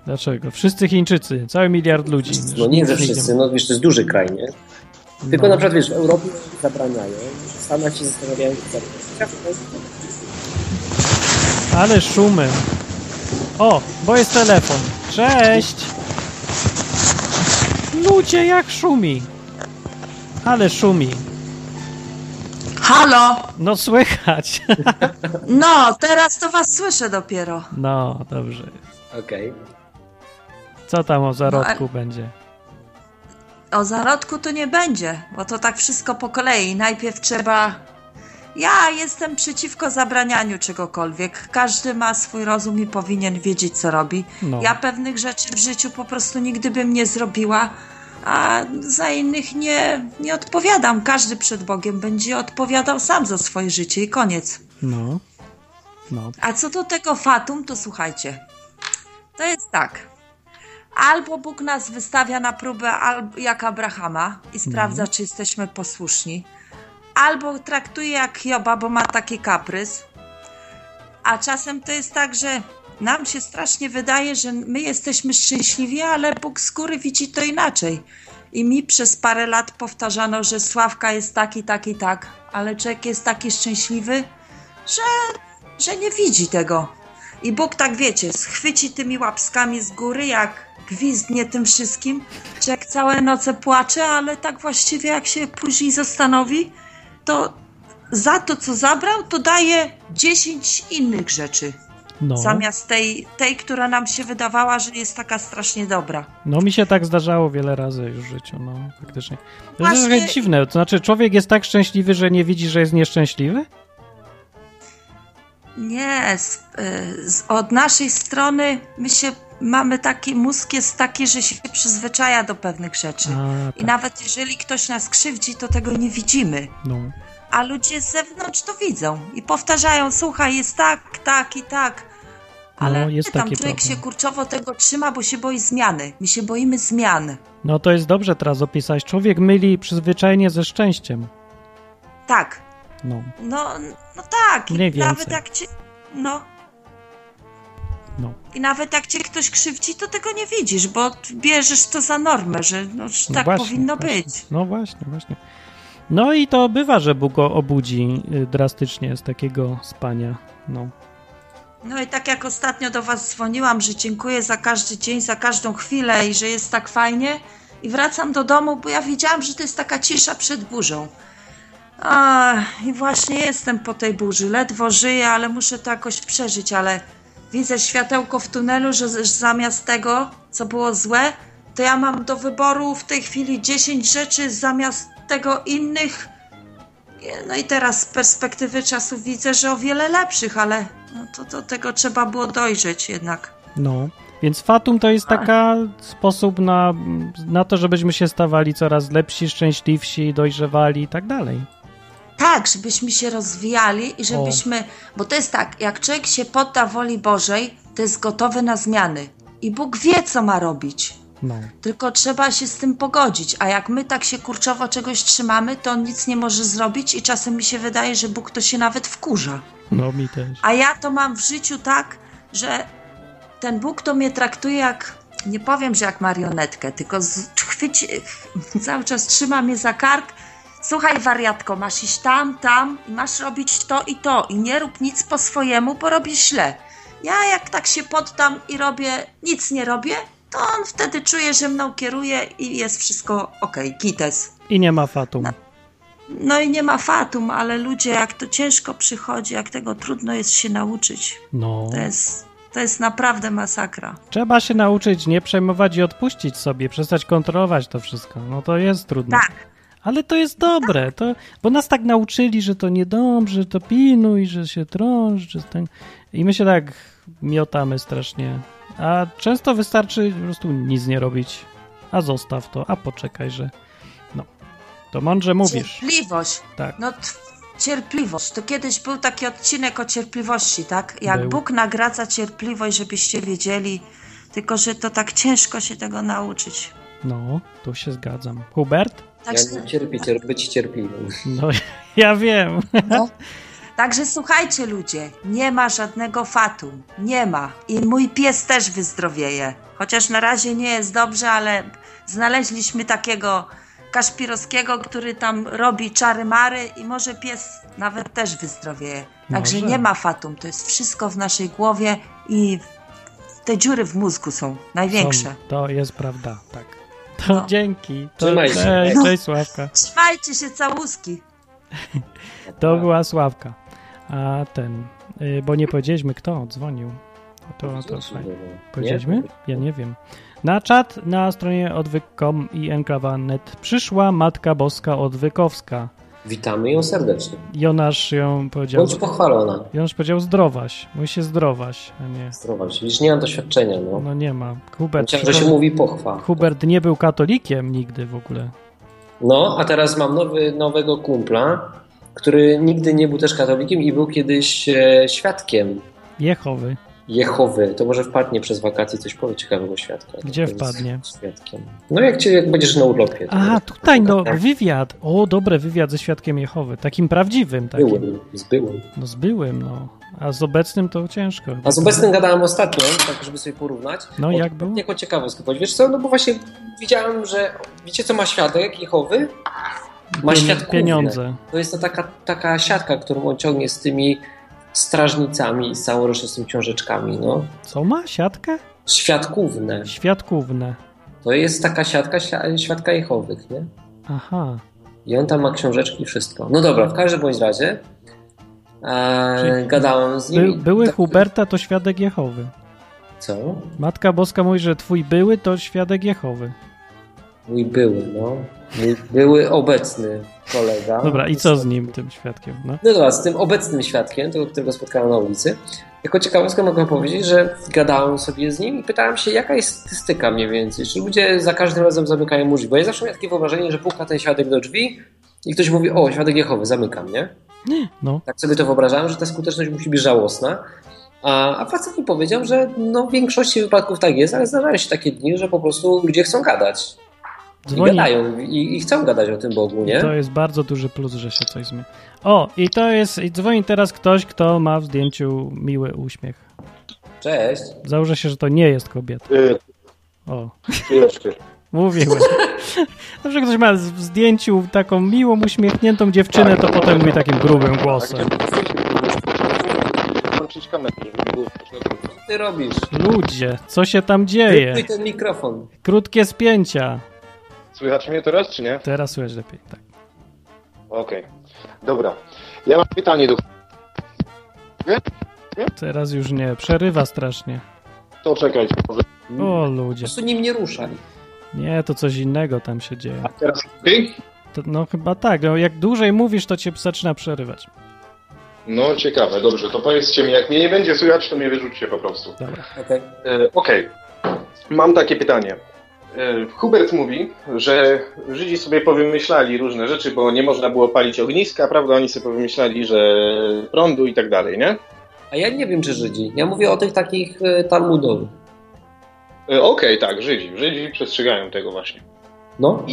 S1: Dlaczego? Wszyscy Chińczycy, cały miliard ludzi.
S2: No nie, że wszyscy, no wiesz, to jest duży kraj, nie?
S1: No.
S2: Tylko na przykład, wiesz, w Europie zabraniają, w Stanach się zastanawiają, co zabrać.
S1: Ale szumy. O, bo jest telefon. Cześć! Ludzie, jak szumi! Ale szumi.
S7: Halo!
S1: No słychać. [LAUGHS]
S7: No, teraz to was słyszę dopiero.
S1: No, dobrze.
S2: Okej.
S1: Co tam o zarodku
S7: No,
S1: będzie?
S7: O zarodku to nie będzie, bo to tak wszystko po kolei. Najpierw trzeba. Ja jestem przeciwko zabranianiu czegokolwiek. Każdy ma swój rozum i powinien wiedzieć, co robi.
S1: No.
S7: Ja pewnych rzeczy w życiu po prostu nigdy bym nie zrobiła, a za innych nie, nie odpowiadam. Każdy przed Bogiem będzie odpowiadał sam za swoje życie i koniec.
S1: No. No.
S7: A co do tego fatum, to słuchajcie. To jest tak. Albo Bóg nas wystawia na próbę albo jak Abrahama i sprawdza, czy jesteśmy posłuszni. Albo traktuje jak Hioba, bo ma taki kaprys. A czasem to jest tak, że nam się strasznie wydaje, że my jesteśmy szczęśliwi, ale Bóg z góry widzi to inaczej. I mi przez parę lat powtarzano, że Sławka jest taki, taki, tak, ale człowiek jest taki szczęśliwy, że, że nie widzi tego. I Bóg tak wiecie, schwyci tymi łapskami z góry, jak gwizdnie tym wszystkim, że jak całe noce płacze, ale tak właściwie jak się później zastanowi, to za to, co zabrał, to daje 10 innych rzeczy.
S1: No.
S7: Zamiast tej, tej, która nam się wydawała, że jest taka strasznie dobra.
S1: No mi się tak zdarzało wiele razy już w życiu, no faktycznie. To jest
S7: Właśnie-
S1: trochę dziwne, to znaczy człowiek jest tak szczęśliwy, że nie widzi, że jest nieszczęśliwy?
S7: Nie, z, y, z, od naszej strony my się mamy taki mózg jest taki, że się przyzwyczaja do pewnych rzeczy.
S1: A,
S7: I
S1: tak,
S7: nawet jeżeli ktoś nas krzywdzi, to tego nie widzimy.
S1: no.
S7: A ludzie z zewnątrz to widzą i powtarzają, słuchaj, jest tak, tak i tak. Ale
S1: No, jest
S7: tam
S1: taki
S7: człowiek
S1: problem.
S7: się kurczowo tego trzyma, bo się boi zmiany. My się boimy zmian.
S1: no to jest dobrze teraz opisać. Człowiek myli przyzwyczajenie ze szczęściem.
S7: Tak,
S1: No,
S7: No, no tak. I
S1: Mniej więcej.
S7: nawet jak cię. No.
S1: No.
S7: I nawet jak cię ktoś krzywdzi, to tego nie widzisz, bo bierzesz to za normę, że no, że
S1: No
S7: tak
S1: właśnie,
S7: powinno
S1: właśnie.
S7: być.
S1: no właśnie, właśnie. No i to bywa, że Bóg go obudzi y, drastycznie z takiego spania. No.
S7: No i tak jak ostatnio do was dzwoniłam, że dziękuję za każdy dzień, za każdą chwilę i że jest tak fajnie. I wracam do domu, bo ja wiedziałam, że to jest taka cisza przed burzą. A, I właśnie jestem po tej burzy. Ledwo żyję, ale muszę to jakoś przeżyć, ale widzę światełko w tunelu, że z- zamiast tego, co było złe, to ja mam do wyboru w tej chwili 10 rzeczy zamiast tego innych. No i teraz z perspektywy czasu widzę, że o wiele lepszych, ale no to do tego trzeba było dojrzeć jednak.
S1: No. Więc fatum to jest taka sposób na, na to, żebyśmy się stawali coraz lepsi, szczęśliwsi, dojrzewali i tak dalej.
S7: Tak, żebyśmy się rozwijali i żebyśmy. Bo to jest tak, jak człowiek się podda woli Bożej, to jest gotowy na zmiany. I Bóg wie, co ma robić.
S1: No.
S7: Tylko trzeba się z tym pogodzić. A jak my tak się kurczowo czegoś trzymamy, to on nic nie może zrobić, i czasem mi się wydaje, że Bóg to się nawet wkurza.
S1: No mi też.
S7: A ja to mam w życiu tak, że ten Bóg to mnie traktuje jak, nie powiem, że jak marionetkę, tylko z, chwyci, [LAUGHS] cały czas trzyma mnie za kark. Słuchaj, wariatko, masz iść tam, tam i masz robić to i to i nie rób nic po swojemu, bo robisz źle. Ja jak tak się poddam i robię, nic nie robię, to on wtedy czuje, że mną kieruje i jest wszystko okej, gites.
S1: I nie ma fatum.
S7: No i nie ma fatum, ale ludzie, jak to ciężko przychodzi, jak tego trudno jest się nauczyć.
S1: No.
S7: To jest, to jest naprawdę masakra.
S1: Trzeba się nauczyć nie przejmować i odpuścić sobie, przestać kontrolować to wszystko. No to jest trudne.
S7: Tak.
S1: Ale to jest dobre, to, bo nas tak nauczyli, że to niedobrze, to pilnuj, że się trąż, że ten... I my się tak miotamy strasznie. A często wystarczy po prostu nic nie robić. A zostaw to, a poczekaj, że... No, to mądrze mówisz.
S7: Cierpliwość.
S1: Tak.
S7: No t- cierpliwość. To kiedyś był taki odcinek o cierpliwości, tak? Jak
S1: Był.
S7: Bóg nagradza cierpliwość, żebyście wiedzieli, tylko że to tak ciężko się tego nauczyć. Tak
S1: No, tu się zgadzam. Hubert?
S7: Także,
S2: Jak cierpi, cier- być cierpliwym.
S1: No, [LAUGHS] ja wiem.
S7: także słuchajcie ludzie, nie ma żadnego fatum. Nie ma. I mój pies też wyzdrowieje. Chociaż na razie nie jest dobrze, ale znaleźliśmy takiego Kaszpirowskiego, który tam robi czary mary i może pies nawet też wyzdrowieje. Także
S1: Może.
S7: nie ma fatum, to jest wszystko w naszej głowie i te dziury w mózgu są największe.
S1: Są, To jest prawda, tak. To
S7: No.
S1: dzięki. To
S2: Trzymaj się.
S1: cześć, cześć Sławka.
S7: Trzymajcie się całuski.
S2: No.
S1: To była Sławka. A ten, y, bo nie powiedzieliśmy kto dzwonił. To, to fajnie. Powiedzieliśmy? Ja nie wiem. Na czat na stronie odwyk.com i enklawa.net przyszła Matka Boska Odwykowska.
S2: Witamy ją serdecznie.
S1: Jonasz ją powiedział.
S2: Bądź pochwalona.
S1: Jonasz powiedział zdrowaś. Mówi się zdrowaś, a nie.
S2: Zdrowaś. Widzisz, nie mam doświadczenia, no.
S1: No nie ma. Hubert,
S2: Myślałem, że się mówi pochwa.
S1: Hubert nie był katolikiem nigdy w ogóle.
S2: No, a teraz mam nowy, nowego kumpla, który nigdy nie był też katolikiem i był kiedyś e, świadkiem
S1: Jehowy.
S2: Jehowy, to może wpadnie przez wakacje coś powie ciekawego świadka.
S1: Gdzie
S2: To jest
S1: wpadnie?
S2: Świadkiem. No jak, cię, jak będziesz na urlopie. to
S1: Aha,
S2: będziesz
S1: tutaj no,
S2: tak.
S1: wywiad. O, dobry wywiad ze świadkiem Jehowy. Takim prawdziwym,
S2: z
S1: takim.
S2: byłym, z byłym.
S1: No z byłym, no. A z obecnym to ciężko.
S2: A z obecnym gadałem ostatnio, tak żeby sobie porównać.
S1: No,
S2: O,
S1: jak było?
S2: Jako ciekawostkę powiedz. Wiesz co, no bo właśnie widziałem, że wiecie co ma świadek Jehowy? Ma
S1: Pieni-
S2: świadków.
S1: Pieniądze.
S2: To jest to taka, taka siatka, którą on ciągnie z tymi strażnicami i z całą resztą z tymi książeczkami, no.
S1: Co ma? Siatkę?
S2: Świadkówne.
S1: Świadkówne.
S2: To jest taka siatka śla- świadka Jehowych, nie?
S1: Aha.
S2: I on tam ma książeczki i wszystko. No dobra, w każdym bądź razie e,
S1: Czyli
S2: gadałem z
S1: By,
S2: nim.
S1: były
S2: tak-
S1: Huberta to świadek Jehowy.
S2: Co?
S1: Matka Boska mówi, że twój były to świadek Jehowy.
S2: Mój były, no. Mój były obecny kolega.
S1: Dobra, i co z
S2: tak.
S1: nim, tym świadkiem? No.
S2: No dobra, z tym obecnym świadkiem, tego, którego spotkałem na ulicy, jako ciekawostkę mogę powiedzieć, że gadałem sobie z nim i pytałem się, jaka jest statystyka mniej więcej, czy ludzie za każdym razem zamykają drzwi, bo ja zawsze miałem takie wyobrażenie, że puka ten świadek do drzwi i ktoś mówi, o, świadek Jehowy, zamykam, nie?
S1: No.
S2: Tak sobie to wyobrażałem, że ta skuteczność musi być żałosna, a, a facet mi powiedział, że no, w większości wypadków tak jest, ale zdarzają się takie dni, że po prostu ludzie chcą gadać. I
S1: Dzwoni.
S2: gadają, i, i chcą gadać o tym Bogu, nie?
S1: To jest bardzo duży plus, że się coś zmieni. O, i to jest. I dzwoni teraz ktoś, kto ma w zdjęciu miły uśmiech.
S2: Cześć.
S1: Założę się, że to nie jest kobieta.
S2: e,
S8: Y,
S1: O,
S8: Chwileczkę.
S1: mówiłem. [LAUGHS] Zawsze ktoś ma w zdjęciu taką miłą, uśmiechniętą dziewczynę, to potem mówi takim grubym
S8: Tak,
S1: głosem.
S8: Włączyć kamerę, żeby było słyszne.
S2: Co ty robisz?
S1: Ludzie, co się tam
S2: Wypluj
S1: dzieje?
S2: ten mikrofon.
S1: Krótkie spięcia.
S8: Słychać mnie teraz, czy nie?
S1: Teraz słychać lepiej, tak.
S8: Okej. Dobra. Ja mam pytanie do
S1: Teraz już nie, przerywa strasznie.
S8: To czekajcie, może.
S1: O,
S2: Po
S1: ludzie.
S2: prostu nim nie ruszaj.
S1: Nie, to coś innego tam się dzieje.
S8: A teraz ty?
S1: To, no chyba tak, no, jak dłużej mówisz, to cię zaczyna przerywać.
S8: No ciekawe, dobrze, to powiedzcie mi, jak mnie nie będzie słychać, to mnie wyrzućcie po prostu.
S1: Dobra.
S2: Okej.
S8: E, Okej. Mam takie pytanie. E, Hubert mówi, że Żydzi sobie powymyślali różne rzeczy, bo nie można było palić ogniska, prawda? Oni sobie powymyślali, że prądu i tak dalej, nie?
S2: A ja nie wiem, czy Żydzi. Ja mówię o tych takich e, Talmudowych.
S8: E, Okej, tak, Żydzi. Żydzi przestrzegają tego właśnie.
S2: No,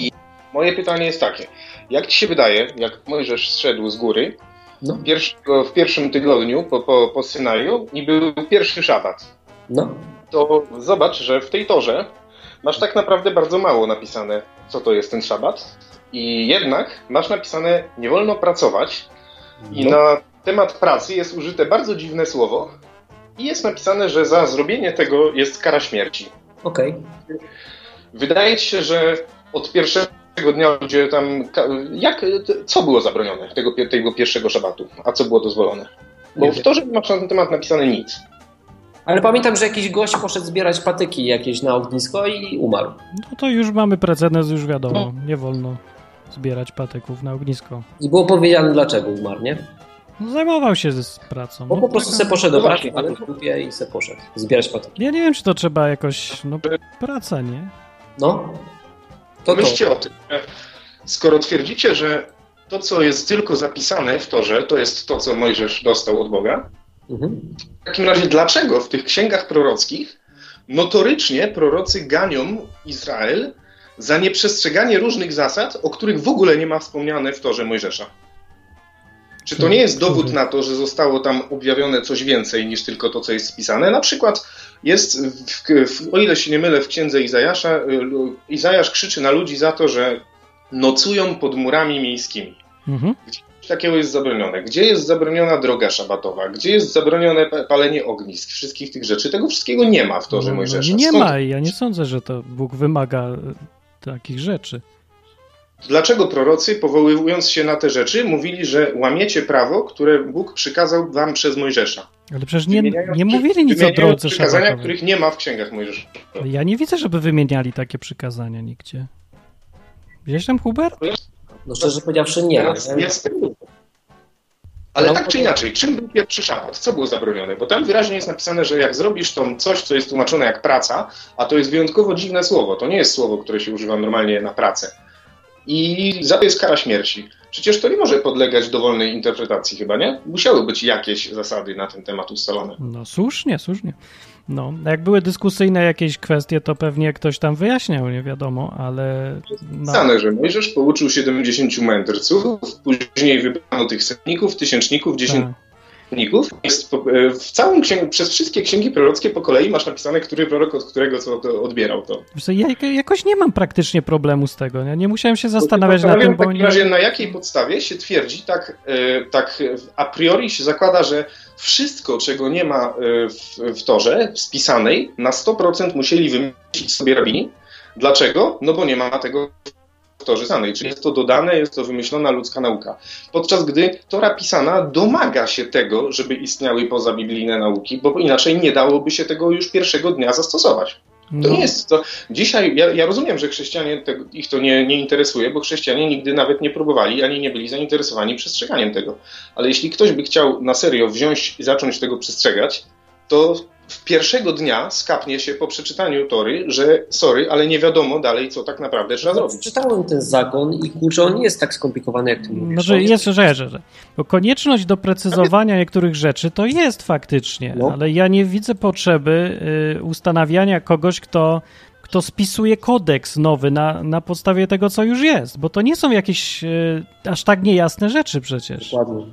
S8: Moje pytanie jest takie. Jak ci się wydaje, jak Mojżesz zszedł z góry
S2: No.
S8: pierwszego, w pierwszym tygodniu po, po, po Synaju i był pierwszy szabat,
S2: no.
S8: to zobacz, że w tej torze masz tak naprawdę bardzo mało napisane, co to jest ten szabat. I jednak masz napisane, nie wolno pracować. I
S2: No.
S8: na temat pracy jest użyte bardzo dziwne słowo. I jest napisane, że za zrobienie tego jest kara śmierci.
S2: Okej.
S8: Wydaje ci się, że od pierwszego dnia ludzie tam. ka- Jak, co było zabronione tego, pier- tego pierwszego szabatu, a co było dozwolone? Bo
S2: Nie
S8: w
S2: wiem.
S8: to, że masz na ten temat napisane nic.
S2: Ale pamiętam, że jakiś gość poszedł zbierać patyki jakieś na ognisko i umarł.
S1: No to już mamy precedens, już wiadomo. Nie wolno zbierać patyków na ognisko.
S2: I było powiedziane, dlaczego umarł, nie?
S1: No, zajmował się z pracą.
S2: Bo
S1: No,
S2: po prostu
S1: taka-
S2: se poszedł do
S8: No
S2: pracy,
S8: właśnie.
S2: ale w grupie i se poszedł. Zbierać patyki.
S1: no, Ja nie wiem, czy to trzeba jakoś. No, praca, nie?
S2: No. To to.
S8: Myślcie o tym. że Skoro twierdzicie, że to, co jest tylko zapisane w Torze, to jest to, co Mojżesz dostał od Boga,
S2: Mhm.
S8: w takim razie dlaczego w tych księgach prorockich notorycznie prorocy ganią Izrael za nieprzestrzeganie różnych zasad, o których w ogóle nie ma wspomniane w Torze Mojżesza? Czy to nie jest dowód na to, że zostało tam objawione coś więcej niż tylko to, co jest spisane? Na przykład jest, w, w, o ile się nie mylę, w księdze Izajasza, y, lu- Izajasz krzyczy na ludzi za to, że nocują pod murami miejskimi.
S1: Mhm.
S8: Coś takiego jest zabronione. Gdzie jest zabroniona droga szabatowa? Gdzie jest zabronione pa- palenie ognisk? Wszystkich tych rzeczy. Tego wszystkiego nie ma w Torze
S1: No,
S8: Mojżesza.
S1: no, nie
S8: Skąd-
S1: ma i ja nie sądzę, że to Bóg wymaga e, takich rzeczy.
S8: Dlaczego prorocy, powołując się na te rzeczy, mówili, że łamiecie prawo, które Bóg przykazał wam przez Mojżesza?
S1: Ale przecież nie,
S8: Wymieniają
S1: nie
S8: przy-
S1: mówili nic o
S8: wymieniają
S1: drodze
S8: przykazania,
S1: szabatowej.
S8: których nie ma w księgach Mojżesza.
S1: Ja nie widzę, żeby wymieniali takie przykazania nigdzie. Gdzieś tam Hubert?
S2: No szczerze powiedziawszy, nie.
S8: Teraz
S2: Ja-
S8: jest- Ale
S2: No,
S8: tak czy inaczej, czym był pierwszy szabat? Co było zabronione? Bo tam wyraźnie jest napisane, że jak zrobisz tą coś, co jest tłumaczone jak praca, a to jest wyjątkowo dziwne słowo, to nie jest słowo, które się używa normalnie na pracę. I za to jest kara śmierci. Czy Przecież to nie może podlegać dowolnej interpretacji chyba, nie? Musiały być jakieś zasady na ten temat ustalone.
S1: No słusznie, słusznie. No, jak były dyskusyjne jakieś kwestie, to pewnie ktoś tam wyjaśniał, nie wiadomo, ale... No.
S8: Napisane, że Mojżesz pouczył 70 mędrców, później wybrano tych setników, tysięczników,
S2: Tak.
S8: dziesiętników. Jest, po- e, w całym księg- przez wszystkie księgi prorockie po kolei masz napisane, który prorok od którego co to odbierał to.
S1: Wiesz co, Ja jak- jakoś nie mam praktycznie problemu z tego, nie, nie musiałem się zastanawiać nad
S8: Zastanawiam
S1: tym,
S8: w
S1: bo
S8: takim
S1: nie...
S8: razie, na jakiej podstawie się twierdzi, tak, e, tak a priori się zakłada, że wszystko, czego nie ma e, w, w torze spisanej, na 100% musieli wymyślić sobie rabini. Dlaczego? No bo nie ma tego w torze pisanej. Czyli jest to dodane, jest to wymyślona ludzka nauka. Podczas gdy Tora pisana domaga się tego, żeby istniały pozabiblijne nauki, bo inaczej nie dałoby się tego już pierwszego dnia zastosować.
S1: No,
S8: To nie jest to. Dzisiaj ja, ja rozumiem, że chrześcijanie tego, ich to nie, nie interesuje, bo chrześcijanie nigdy nawet nie próbowali ani nie byli zainteresowani przestrzeganiem tego. Ale jeśli ktoś by chciał na serio wziąć i zacząć tego przestrzegać, to w pierwszego dnia skapnie się po przeczytaniu tory, że sorry, ale nie wiadomo dalej, co tak naprawdę trzeba
S1: No,
S8: zrobić.
S2: no, Czytałem ten zakon i kurczę, on nie jest tak skomplikowany, jak ty mówisz.
S1: no że
S2: On
S1: jest, że, że, że. Bo konieczność doprecyzowania niektórych rzeczy to jest faktycznie,
S2: No.
S1: ale ja nie widzę potrzeby y, ustanawiania kogoś, kto, kto spisuje kodeks nowy na, na podstawie tego, co już jest, bo to nie są jakieś y, aż tak niejasne rzeczy przecież.
S2: Dokładnie.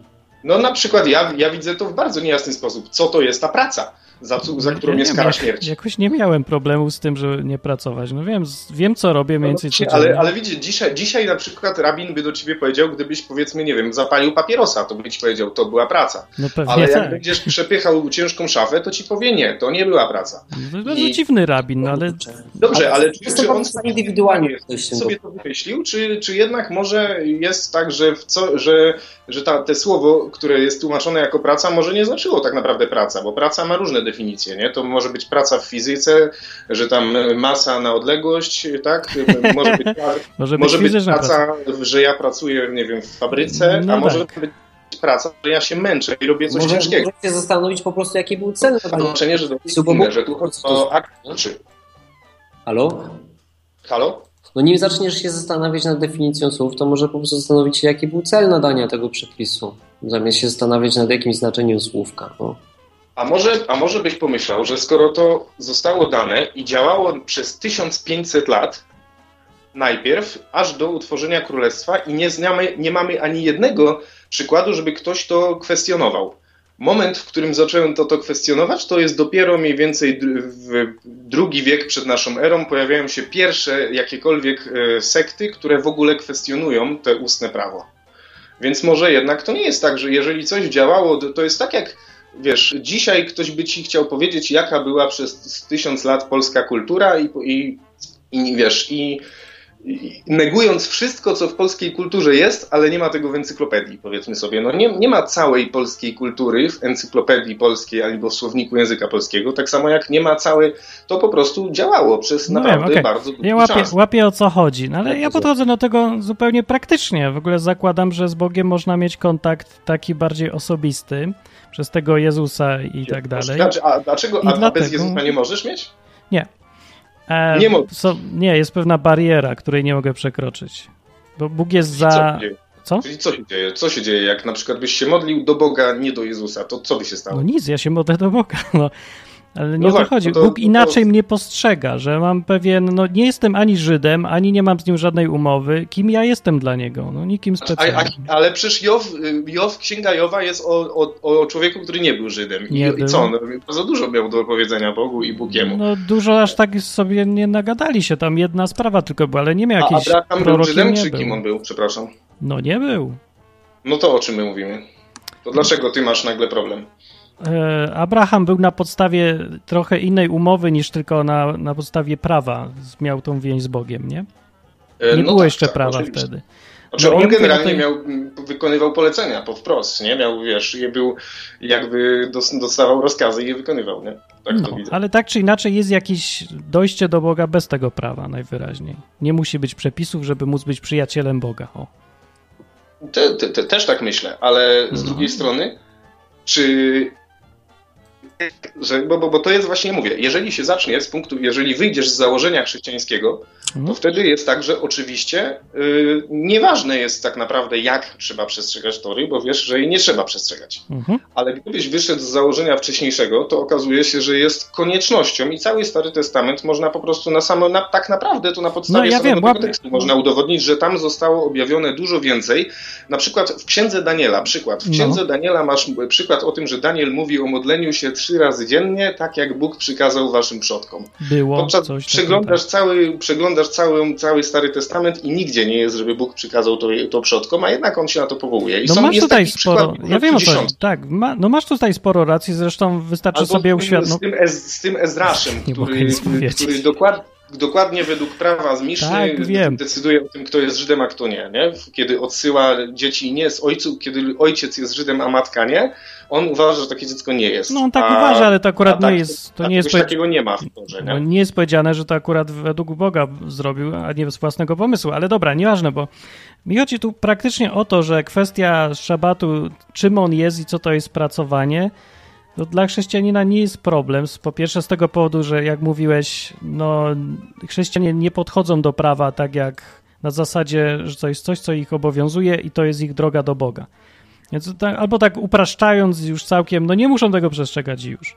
S8: No na przykład ja, ja widzę to w bardzo niejasny sposób. Co to jest ta praca, za, co- za którą
S1: Ja nie
S8: jest
S1: wiem,
S8: kara
S1: jak-
S8: śmierci?
S1: Jakoś nie miałem problemu z tym, żeby nie pracować. No wiem, z- wiem co robię, mniej więcej
S8: No,
S1: co
S8: ale,
S1: czynię.
S8: ale widzisz, dzisiaj, dzisiaj na przykład rabin by do ciebie powiedział, gdybyś powiedzmy, nie wiem, zapalił papierosa, to by ci powiedział, to była praca.
S1: No pewnie
S8: Ale jak
S1: tak.
S8: będziesz przepychał ciężką szafę, to ci powie nie, to nie była praca.
S1: No, Bardzo
S8: i-
S1: dziwny rabin, no ale
S8: Dobrze, ale czy,
S2: Jestem
S8: czy on
S2: bardzo indywidualnie ktoś się
S8: sobie to wymyślił, czy, czy jednak może jest tak, że, w co, że, że ta, te słowo, które jest tłumaczone jako praca, może nie znaczyło tak naprawdę praca, bo praca ma różne definicje, nie? To może być praca w fizyce, że tam masa na odległość, tak? Może
S1: [LAUGHS]
S8: być
S1: może być
S8: Może być
S1: fizyczna praca.
S8: praca, że ja pracuję, nie wiem, w fabryce,
S1: No
S8: a może
S1: tak.
S8: być praca, że ja się męczę i robię coś
S2: Może
S8: ciężkiego.
S2: możecie zastanowić po prostu, jaki był cel.
S8: To znaczenie, że to jest
S2: Bo-
S8: inne, że tu chodzi o akt rzeczy.
S2: Halo?
S8: znaczy, Halo?
S2: No nim zaczniesz się zastanawiać nad definicją słów, to może po prostu zastanowić się, jaki był cel nadania tego przepisu, zamiast się zastanawiać nad jakimś znaczeniem słówka. No.
S8: A może, a może byś pomyślał, że skoro to zostało dane i działało przez 1500 lat, najpierw aż do utworzenia królestwa i nie, znamy, nie mamy ani jednego przykładu, żeby ktoś to kwestionował. Moment, w którym zacząłem to, to kwestionować, to jest dopiero mniej więcej dr- w drugi wiek przed naszą erą pojawiają się pierwsze jakiekolwiek e, sekty, które w ogóle kwestionują te ustne prawo. Więc może jednak to nie jest tak, że jeżeli coś działało, to- to jest tak jak Wiesz, dzisiaj ktoś by ci chciał powiedzieć, jaka była przez tysiąc lat polska kultura i, i, i wiesz, i, i negując wszystko, co w polskiej kulturze jest, ale nie ma tego w encyklopedii, powiedzmy sobie. No nie, nie ma całej polskiej kultury w encyklopedii polskiej albo w słowniku języka polskiego, tak samo jak nie ma całej, to po prostu działało przez
S1: No wiem,
S8: naprawdę
S1: okej.
S8: bardzo długi
S1: Ja łapię,
S8: czas.
S1: łapię o co chodzi, no ale
S2: Tak,
S1: ja
S2: tak.
S1: podchodzę do tego zupełnie praktycznie. W ogóle zakładam, że z Bogiem można mieć kontakt taki bardziej osobisty przez tego Jezusa i tak dalej.
S8: Znaczy, A dlaczego
S1: I
S8: a, a
S1: dlatego-
S8: bez Jezusa nie możesz mieć?
S1: E,
S8: nie mogę.
S1: są- nie, jest pewna bariera, której nie mogę przekroczyć. Bo Bóg jest
S8: I co
S1: za.
S8: się dzieje?
S1: Co?
S8: Czyli co się dzieje? Co się dzieje, jak na przykład byś się modlił do Boga, nie do Jezusa, to co by się stało?
S1: No nic, ja się modlę do Boga. [LAUGHS] No. Ale nie
S8: Tak. No
S1: o to
S8: tak,
S1: chodzi.
S8: no to-
S1: Bóg
S8: to-
S1: inaczej mnie postrzega, że mam pewien. No, nie jestem ani Żydem, ani nie mam z nim żadnej umowy. Kim ja jestem dla niego? No, nikim
S8: A, a,
S1: specjalnym.
S8: ale przecież Jow, Jow, księga Jowa jest o, o, o człowieku, który nie był Żydem. I,
S1: Nie
S8: i
S1: był.
S8: co? No, bardzo dużo miał do powiedzenia Bogu i Bóg jemu.
S1: No dużo aż tak sobie nie nagadali się, tam jedna sprawa tylko była, ale nie miał
S8: a
S1: jakiejś
S8: Abraham był
S1: prorokiem
S8: Żydem,
S1: nie
S8: czy
S1: był.
S8: kim on był? Przepraszam.
S1: No nie był.
S8: No to o czym my mówimy? To dlaczego ty masz nagle problem?
S1: E, Abraham był na podstawie trochę innej umowy niż tylko na, na podstawie prawa z- miał tą więź z Bogiem, nie?
S8: E,
S1: Nie
S8: no
S1: było
S8: tak,
S1: jeszcze
S8: tak,
S1: prawa
S8: oczywiście.
S1: wtedy.
S8: Znaczy
S1: No, ja
S8: on
S1: mówię
S8: generalnie
S1: tutaj-
S8: miał, m, wykonywał polecenia po wprost, nie? Miał, wiesz, je był, jakby dos- dostawał rozkazy i je wykonywał, nie? Tak to
S1: No,
S8: widzę.
S1: ale tak czy inaczej jest jakieś dojście do Boga bez tego prawa najwyraźniej. Nie musi być przepisów, żeby móc być przyjacielem Boga. O.
S8: Te, te, te, też tak myślę, ale z
S1: No.
S8: drugiej strony, czy. Że, bo, bo, bo to jest właśnie, mówię, jeżeli się zacznie z punktu, jeżeli wyjdziesz z założenia chrześcijańskiego, to wtedy jest tak, że oczywiście y, nieważne jest tak naprawdę, jak trzeba przestrzegać tory, bo wiesz, że jej nie trzeba przestrzegać.
S1: Mhm.
S8: Ale gdybyś wyszedł z założenia wcześniejszego, to okazuje się, że jest koniecznością i cały Stary Testament można po prostu na samo, na, tak naprawdę to na podstawie
S1: No, ja
S8: samego
S1: wiem,
S8: tego
S1: łap-
S8: tekstu można udowodnić, że tam zostało objawione dużo więcej. Na przykład w Księdze Daniela, przykład. W
S1: No.
S8: Księdze Daniela masz m, przykład o tym, że Daniel mówi o modleniu się trzy razy dziennie, tak jak Bóg przykazał waszym przodkom.
S1: Było
S8: Podczas,
S1: coś tak.
S8: przeglądasz cały, przeglądasz cały, cały Stary Testament i nigdzie nie jest, żeby Bóg przykazał to, to przodkom, a jednak on się na to powołuje. I
S1: No
S8: są,
S1: masz
S8: jest
S1: tutaj
S8: takich
S1: sporo,
S8: przykładów
S1: ja wiem o co,
S8: dziesiątki.
S1: tak, ma, no masz tutaj sporo racji, zresztą wystarczy
S8: Albo
S1: sobie
S8: z tym-
S1: uświadomić.
S8: Z tym, Ez- z tym Ezraszem,
S1: Nie mogę
S8: który,
S1: nic powiedzieć.
S8: który dokład, dokładnie według prawa z Miszny
S1: Tak, wiem.
S8: decyduje o tym, kto jest Żydem, a kto nie, nie. Kiedy odsyła dzieci nie z ojcu, kiedy ojciec jest Żydem, a matka nie, on uważa, że takie dziecko nie jest.
S1: No on tak
S8: a,
S1: uważa, ale to
S8: a
S1: akurat
S8: tak,
S1: nie jest, to
S8: a
S1: nie jest,
S8: czegoś
S1: powie-
S8: takiego nie ma w porze,
S1: no,
S8: nie?
S1: nie jest powiedziane, że to akurat według Boga zrobił, a nie z własnego pomysłu, ale dobra, nieważne, bo mi chodzi tu praktycznie o to, że kwestia szabatu, czym on jest i co to jest pracowanie, no, dla chrześcijanina nie jest problem. Z- Po pierwsze z tego powodu, że jak mówiłeś, no chrześcijanie nie podchodzą do prawa tak jak na zasadzie, że to jest coś, co ich obowiązuje i to jest ich droga do Boga. Więc to tak, albo tak upraszczając już całkiem, no nie muszą tego przestrzegać i już.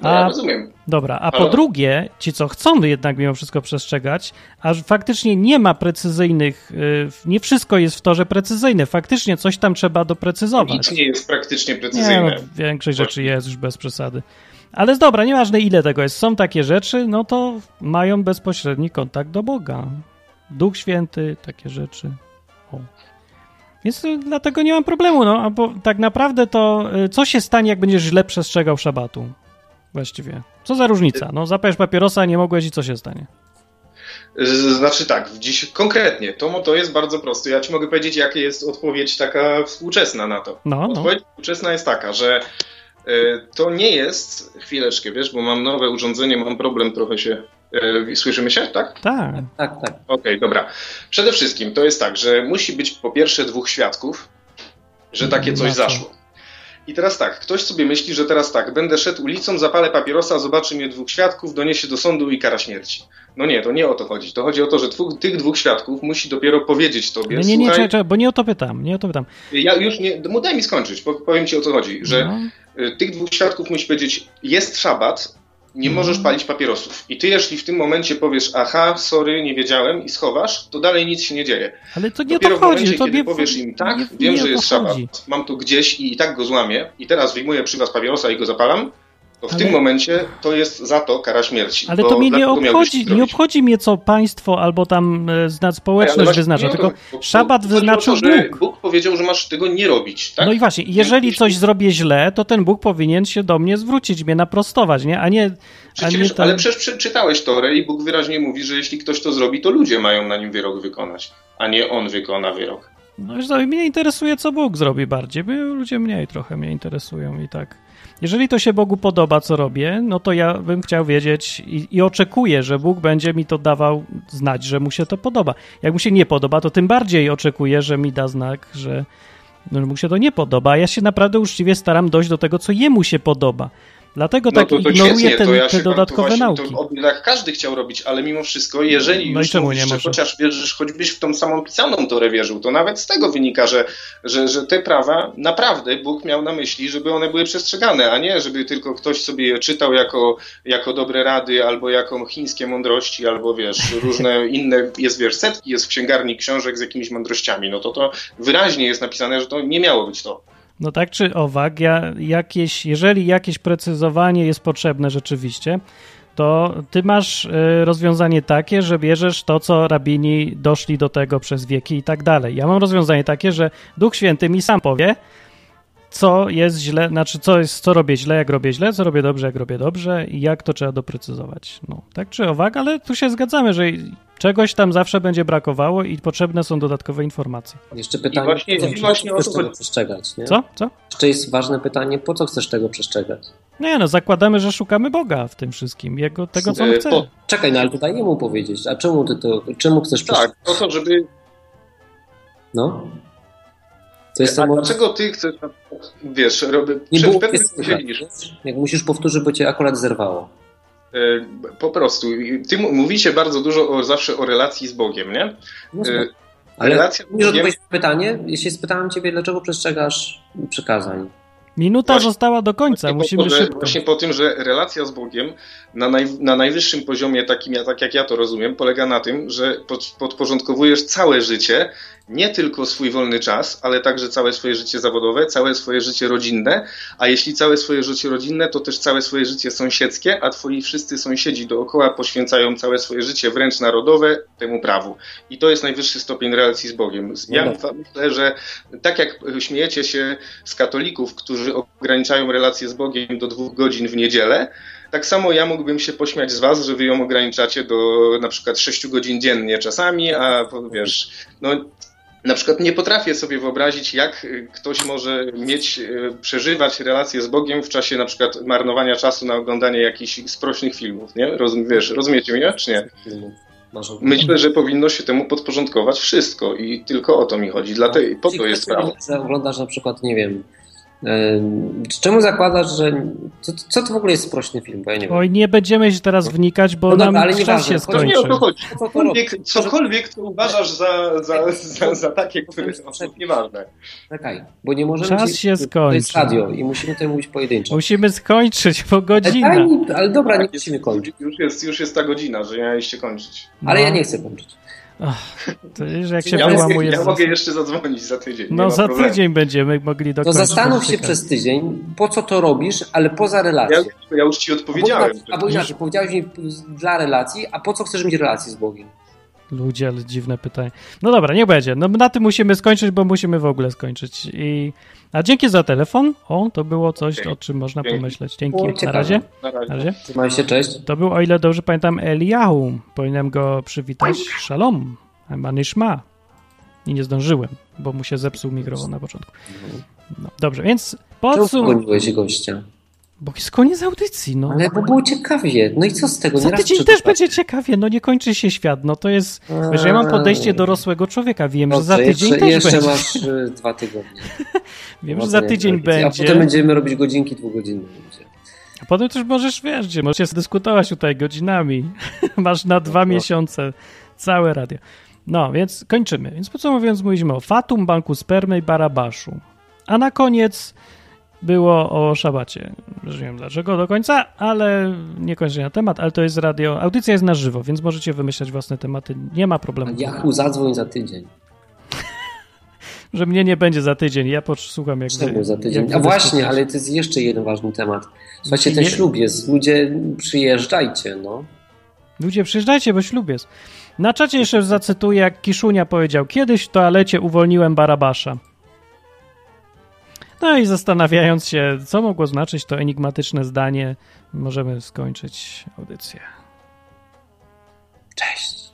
S8: No, ja rozumiem.
S1: Dobra, a po
S8: Halo?
S1: drugie, ci co chcą jednak mimo wszystko przestrzegać, aż faktycznie nie ma precyzyjnych, y, nie wszystko jest w torze precyzyjne, faktycznie coś tam trzeba doprecyzować.
S8: Nic nie jest praktycznie
S1: no Nie, no,
S8: precyzyjne.
S1: większość rzeczy jest już bez przesady. Ale z- dobra, nieważne ile tego jest, są takie rzeczy, no to mają bezpośredni kontakt do Boga. Duch Święty, takie rzeczy. O. Więc y, dlatego nie mam problemu, no, a bo tak naprawdę to y, co się stanie, jak będziesz źle przestrzegał szabatu? Właściwie. Co za różnica? No, zapajesz papierosa, nie mogłeś i co się stanie?
S8: Z- Znaczy tak, w dziś konkretnie, to, to jest bardzo proste. Ja ci mogę powiedzieć, jaka jest odpowiedź taka współczesna na to.
S1: No, no.
S8: Odpowiedź współczesna jest taka, że e, to nie jest, chwileczkę, wiesz, bo mam nowe urządzenie, mam problem trochę się. e, Słyszymy się, tak?
S1: Tak.
S2: Tak, tak.
S8: Okej, dobra. Przede wszystkim to jest tak, że musi być po pierwsze dwóch świadków, że takie
S1: Na
S8: coś
S1: co?
S8: zaszło. I teraz tak, ktoś sobie myśli, że teraz tak, będę szedł ulicą, zapalę papierosa, zobaczy mnie dwóch świadków, doniesie do sądu i kara śmierci. No nie, to nie o to chodzi. To chodzi o to, że twóch, tych dwóch świadków musi dopiero powiedzieć tobie,
S1: Nie, No nie, nie,
S8: słuchaj,
S1: czekaj, czekaj, bo nie o to pytam, nie o to pytam.
S8: ja już nie, no daj mi skończyć, po- powiem ci o co chodzi, że
S1: No.
S8: y, tych dwóch świadków musi powiedzieć, jest szabat, nie możesz palić papierosów. I ty, jeśli w tym momencie powiesz, aha, sorry, nie wiedziałem i schowasz, to dalej nic się nie dzieje.
S1: Ale to nie o
S8: Dopiero
S1: to
S8: w momencie,
S1: chodzi. To
S8: kiedy
S1: nie,
S8: powiesz im tak,
S1: nie-
S8: wiem,
S1: nie o
S8: że
S1: to
S8: jest szabat,
S1: chodzi.
S8: mam tu gdzieś i i tak go złamię i teraz wyjmuję przy was papierosa i go zapalam, to w
S1: Ale-
S8: tym momencie to jest za to kara śmierci.
S1: Ale
S8: bo
S1: to mnie nie
S8: dlatego miałbyś
S1: obchodzi,
S8: to
S1: nie
S8: zrobić.
S1: obchodzi mnie co państwo albo tam e, zna
S8: Ale
S1: społeczność
S8: właśnie
S1: wyznacza,
S8: nie o to
S1: tylko
S8: chodzi, bo- bo
S1: szabat
S8: chodzi o to,
S1: wyznaczył
S8: że
S1: Bóg.
S8: Bóg powiedział, że masz tego nie robić, tak?
S1: No i właśnie, jeżeli
S8: Więc-
S1: coś zrobię źle, to ten Bóg powinien się do mnie zwrócić, mnie naprostować, nie? A nie, a nie
S8: Przecież,
S1: ten...
S8: Ale przecież przeczytałeś Torę i Bóg wyraźnie mówi, że jeśli ktoś to zrobi, to ludzie mają na nim wyrok wykonać, a nie on wykona wyrok.
S1: No wiesz co, mnie interesuje, co Bóg zrobi bardziej, bo ludzie mniej trochę mnie interesują i tak. Jeżeli to się Bogu podoba, co robię, no to ja bym chciał wiedzieć i, i oczekuję, że Bóg będzie mi to dawał znać, że mu się to podoba. Jak mu się nie podoba, to tym bardziej oczekuję, że mi da znak, że, no, że mu się to nie podoba. A ja się naprawdę uczciwie staram dojść do tego, co jemu się podoba. Dlatego tak ignoruję te, te
S8: No się tam-
S1: dodatkowe
S8: to
S1: nauki.
S8: To, od- tak każdy chciał robić, ale mimo wszystko, jeżeli
S1: No i
S8: już
S1: czemu
S8: mówisz,
S1: nie
S8: że
S1: może?
S8: chociaż wierzysz, choćbyś w tą samą pisaną Torę wierzył, to nawet z tego wynika, że, że, że te prawa naprawdę Bóg miał na myśli, żeby one były przestrzegane, a nie żeby tylko ktoś sobie je czytał jako, jako dobre rady, albo jako chińskie mądrości, albo wiesz,
S1: [LAUGHS]
S8: różne inne, jest wiesz, setki, jest w księgarni książek z jakimiś mądrościami, no to to wyraźnie jest napisane, że to nie miało być to.
S1: No tak czy owak, ja, jakieś, jeżeli jakieś precyzowanie jest potrzebne rzeczywiście, to ty masz y, rozwiązanie takie, że bierzesz to, co rabini doszli do tego przez wieki i tak dalej. Ja mam rozwiązanie takie, że Duch Święty mi sam powie, co jest źle, znaczy co, jest, co robię źle, jak robię źle, co robię dobrze, jak robię dobrze i jak to trzeba doprecyzować. No, tak czy owak, ale tu się zgadzamy, że czegoś tam zawsze będzie brakowało i potrzebne są dodatkowe informacje.
S2: Jeszcze pytanie,
S8: właśnie-
S2: po co
S8: i właśnie o
S2: chcesz
S8: to
S2: tego
S8: chodzi.
S2: przestrzegać, nie?
S1: Co? Co?
S2: Jeszcze jest ważne pytanie, po co chcesz tego przestrzegać?
S1: Nie no, zakładamy, że szukamy Boga w tym wszystkim, jego, tego co on
S8: E,
S1: chce.
S8: po-
S2: Czekaj, no ale to daj jemu powiedzieć, a czemu ty to, czemu chcesz
S8: Tak,
S2: przestrzegać?
S8: po to, żeby
S2: No. To jest
S8: A
S2: samo...
S8: dlaczego ty chcesz, wiesz, robię,
S2: Nie
S8: przed
S2: było
S8: pewnym
S2: mnie słychać.
S8: siedzisz,
S2: Jak musisz powtórzyć, bo cię akurat zerwało.
S8: E, Po prostu, I ty mu- mówicie bardzo dużo o, zawsze o relacji z Bogiem, nie?
S2: No
S8: E,
S2: Ale
S8: Relacja z
S2: musisz
S8: Bogiem,
S2: odpowiedzieć na pytanie. Jeśli spytałem ciebie, dlaczego przestrzegasz przykazań?
S1: Minuta
S8: Właśnie-
S1: została do końca,
S8: właśnie
S1: musimy
S8: po, to, że,
S1: szybko.
S8: właśnie po tym, że relacja z Bogiem na, naj, na najwyższym poziomie, takim ja- tak jak ja to rozumiem, polega na tym, że pod, podporządkowujesz całe życie, nie tylko swój wolny czas, ale także całe swoje życie zawodowe, całe swoje życie rodzinne, a jeśli całe swoje życie rodzinne, to też całe swoje życie sąsiedzkie, a twoi wszyscy sąsiedzi dookoła poświęcają całe swoje życie wręcz narodowe temu prawu. I to jest najwyższy stopień relacji z Bogiem.
S1: No
S8: Ja myślę, że tak jak śmiejecie się z katolików, którzy ograniczają relacje z Bogiem do dwóch godzin w niedzielę, tak samo ja mógłbym się pośmiać z was, że wy ją ograniczacie do na przykład sześciu godzin dziennie czasami, a wiesz, no na przykład nie potrafię sobie wyobrazić, jak y, ktoś może mieć, y, przeżywać relacje z Bogiem w czasie na przykład marnowania czasu na oglądanie jakichś sprośnych filmów, nie? Rozum, wiesz, rozumiecie mnie, czy nie?
S2: Masz
S8: Myślę, że powinno się temu podporządkować wszystko i tylko o to mi chodzi. Dlatego, po to jest prawo.
S2: Że oglądasz na przykład, nie wiem. em, Czemu zakładasz, że. Co, co to w ogóle jest sprośny film? Bo ja nie wiem.
S1: Oj, nie będziemy się teraz wnikać, bo
S2: No dobra,
S1: nam
S2: ale
S1: czas
S2: nieważne,
S1: się
S2: chodzi o to,
S8: To nie
S1: skończy.
S8: o to chodzi.
S2: Co to
S8: [LAUGHS]
S2: robi?
S8: Cokolwiek, cokolwiek co uważasz za, za, za, za takie, które są nieważne.
S2: Czekaj, bo nie możemy.
S1: Czas
S2: ci-
S1: się
S2: To jest
S1: skończy.
S2: radio i musimy tutaj mówić pojedynczo.
S1: Musimy skończyć, bo godzina.
S2: Ale, daj mi- ale dobra, nie
S8: Tak,
S2: musimy kończyć.
S8: Już jest, już jest ta godzina, że ja się kończyć.
S2: Ale
S1: No.
S2: ja nie chcę kończyć.
S1: To już jak się
S8: Ja mogę,
S1: wyłamuje.
S8: ja
S1: z-
S8: mogę jeszcze zadzwonić za tydzień. nie
S1: No
S8: ma
S1: za
S8: problemu.
S1: tydzień będziemy mogli
S2: To
S1: dokończyć.
S2: No, zastanów się
S1: podcast.
S2: przez tydzień, po co to robisz, ale poza
S8: Ja,
S2: relacją.
S8: ja już ci odpowiedziałem.
S2: Albo, albo inaczej, powiedziałeś mi dla relacji, a po co chcesz mieć relacje z Bogiem?
S1: Ludzie, ale dziwne pytanie. No dobra, nie będzie. No na tym musimy skończyć, bo musimy w ogóle skończyć. I... A dzięki za telefon. O, to było coś,
S8: Dzięki.
S1: o czym można
S8: Dzięki.
S1: pomyśleć.
S2: Było
S1: Dzięki. Na
S2: ciekawe.
S1: razie.
S8: Na razie.
S1: Na razie.
S2: Trzymaj się, cześć.
S1: To był, o ile dobrze pamiętam, Eliahu. Powinienem go przywitać. Shalom. Manishma. I nie zdążyłem, bo mu się zepsuł mikrofon na początku. No, dobrze, więc
S2: Czemu
S1: podsum...
S2: pogoniłeś gościa?
S1: Bo jest koniec audycji, no.
S2: Ale bo było ciekawie. No i co z tego?
S1: Za
S2: raz
S1: tydzień
S2: przeczytałem.
S1: też będzie ciekawie, no nie kończy się świat, no to jest... Wiesz, ja mam podejście dorosłego człowieka, wiem, że za
S2: Dobrze,
S1: tydzień
S2: No jeszcze,
S1: też
S2: jeszcze
S1: będzie.
S2: masz y, dwa tygodnie.
S1: [LAUGHS]
S2: tak.
S1: Wiem, że za tydzień
S2: A potem
S1: będzie.
S2: będziemy robić godzinki dwugodzinne. ludzie.
S1: A potem też możesz, wiesz, gdzie możesz się dyskutować tutaj godzinami. [LAUGHS] Masz na dwa
S2: no.
S1: miesiące całe radio. No, więc kończymy. Więc podsumowując, mówiliśmy o Fatum, Banku Spermy i Barabaszu. A na koniec było o szabacie. Już nie wiem dlaczego do końca, ale nie kończę na temat, ale to jest radio. Audycja jest na żywo, więc możecie wymyślać własne tematy. Nie ma
S2: A
S1: problemu.
S2: Yahoo zadzwoń za tydzień.
S1: Tak, Że mnie nie będzie za tydzień. Ja posłucham jak wy-
S2: Czemu za tydzień?
S1: jak
S2: A
S1: wy
S2: właśnie,
S1: dyskutujecie.
S2: ale to jest jeszcze jeden ważny temat. Słuchajcie, ten
S1: Nie-
S2: ślub jest. Ludzie, przyjeżdżajcie, no.
S1: Ludzie, przyjeżdżajcie, bo ślub jest. Na czacie jeszcze zacytuję, jak Kiszunia powiedział: Kiedyś w toalecie uwolniłem Barabasza. No i zastanawiając się, co mogło znaczyć to enigmatyczne zdanie, możemy skończyć audycję.
S2: Cześć.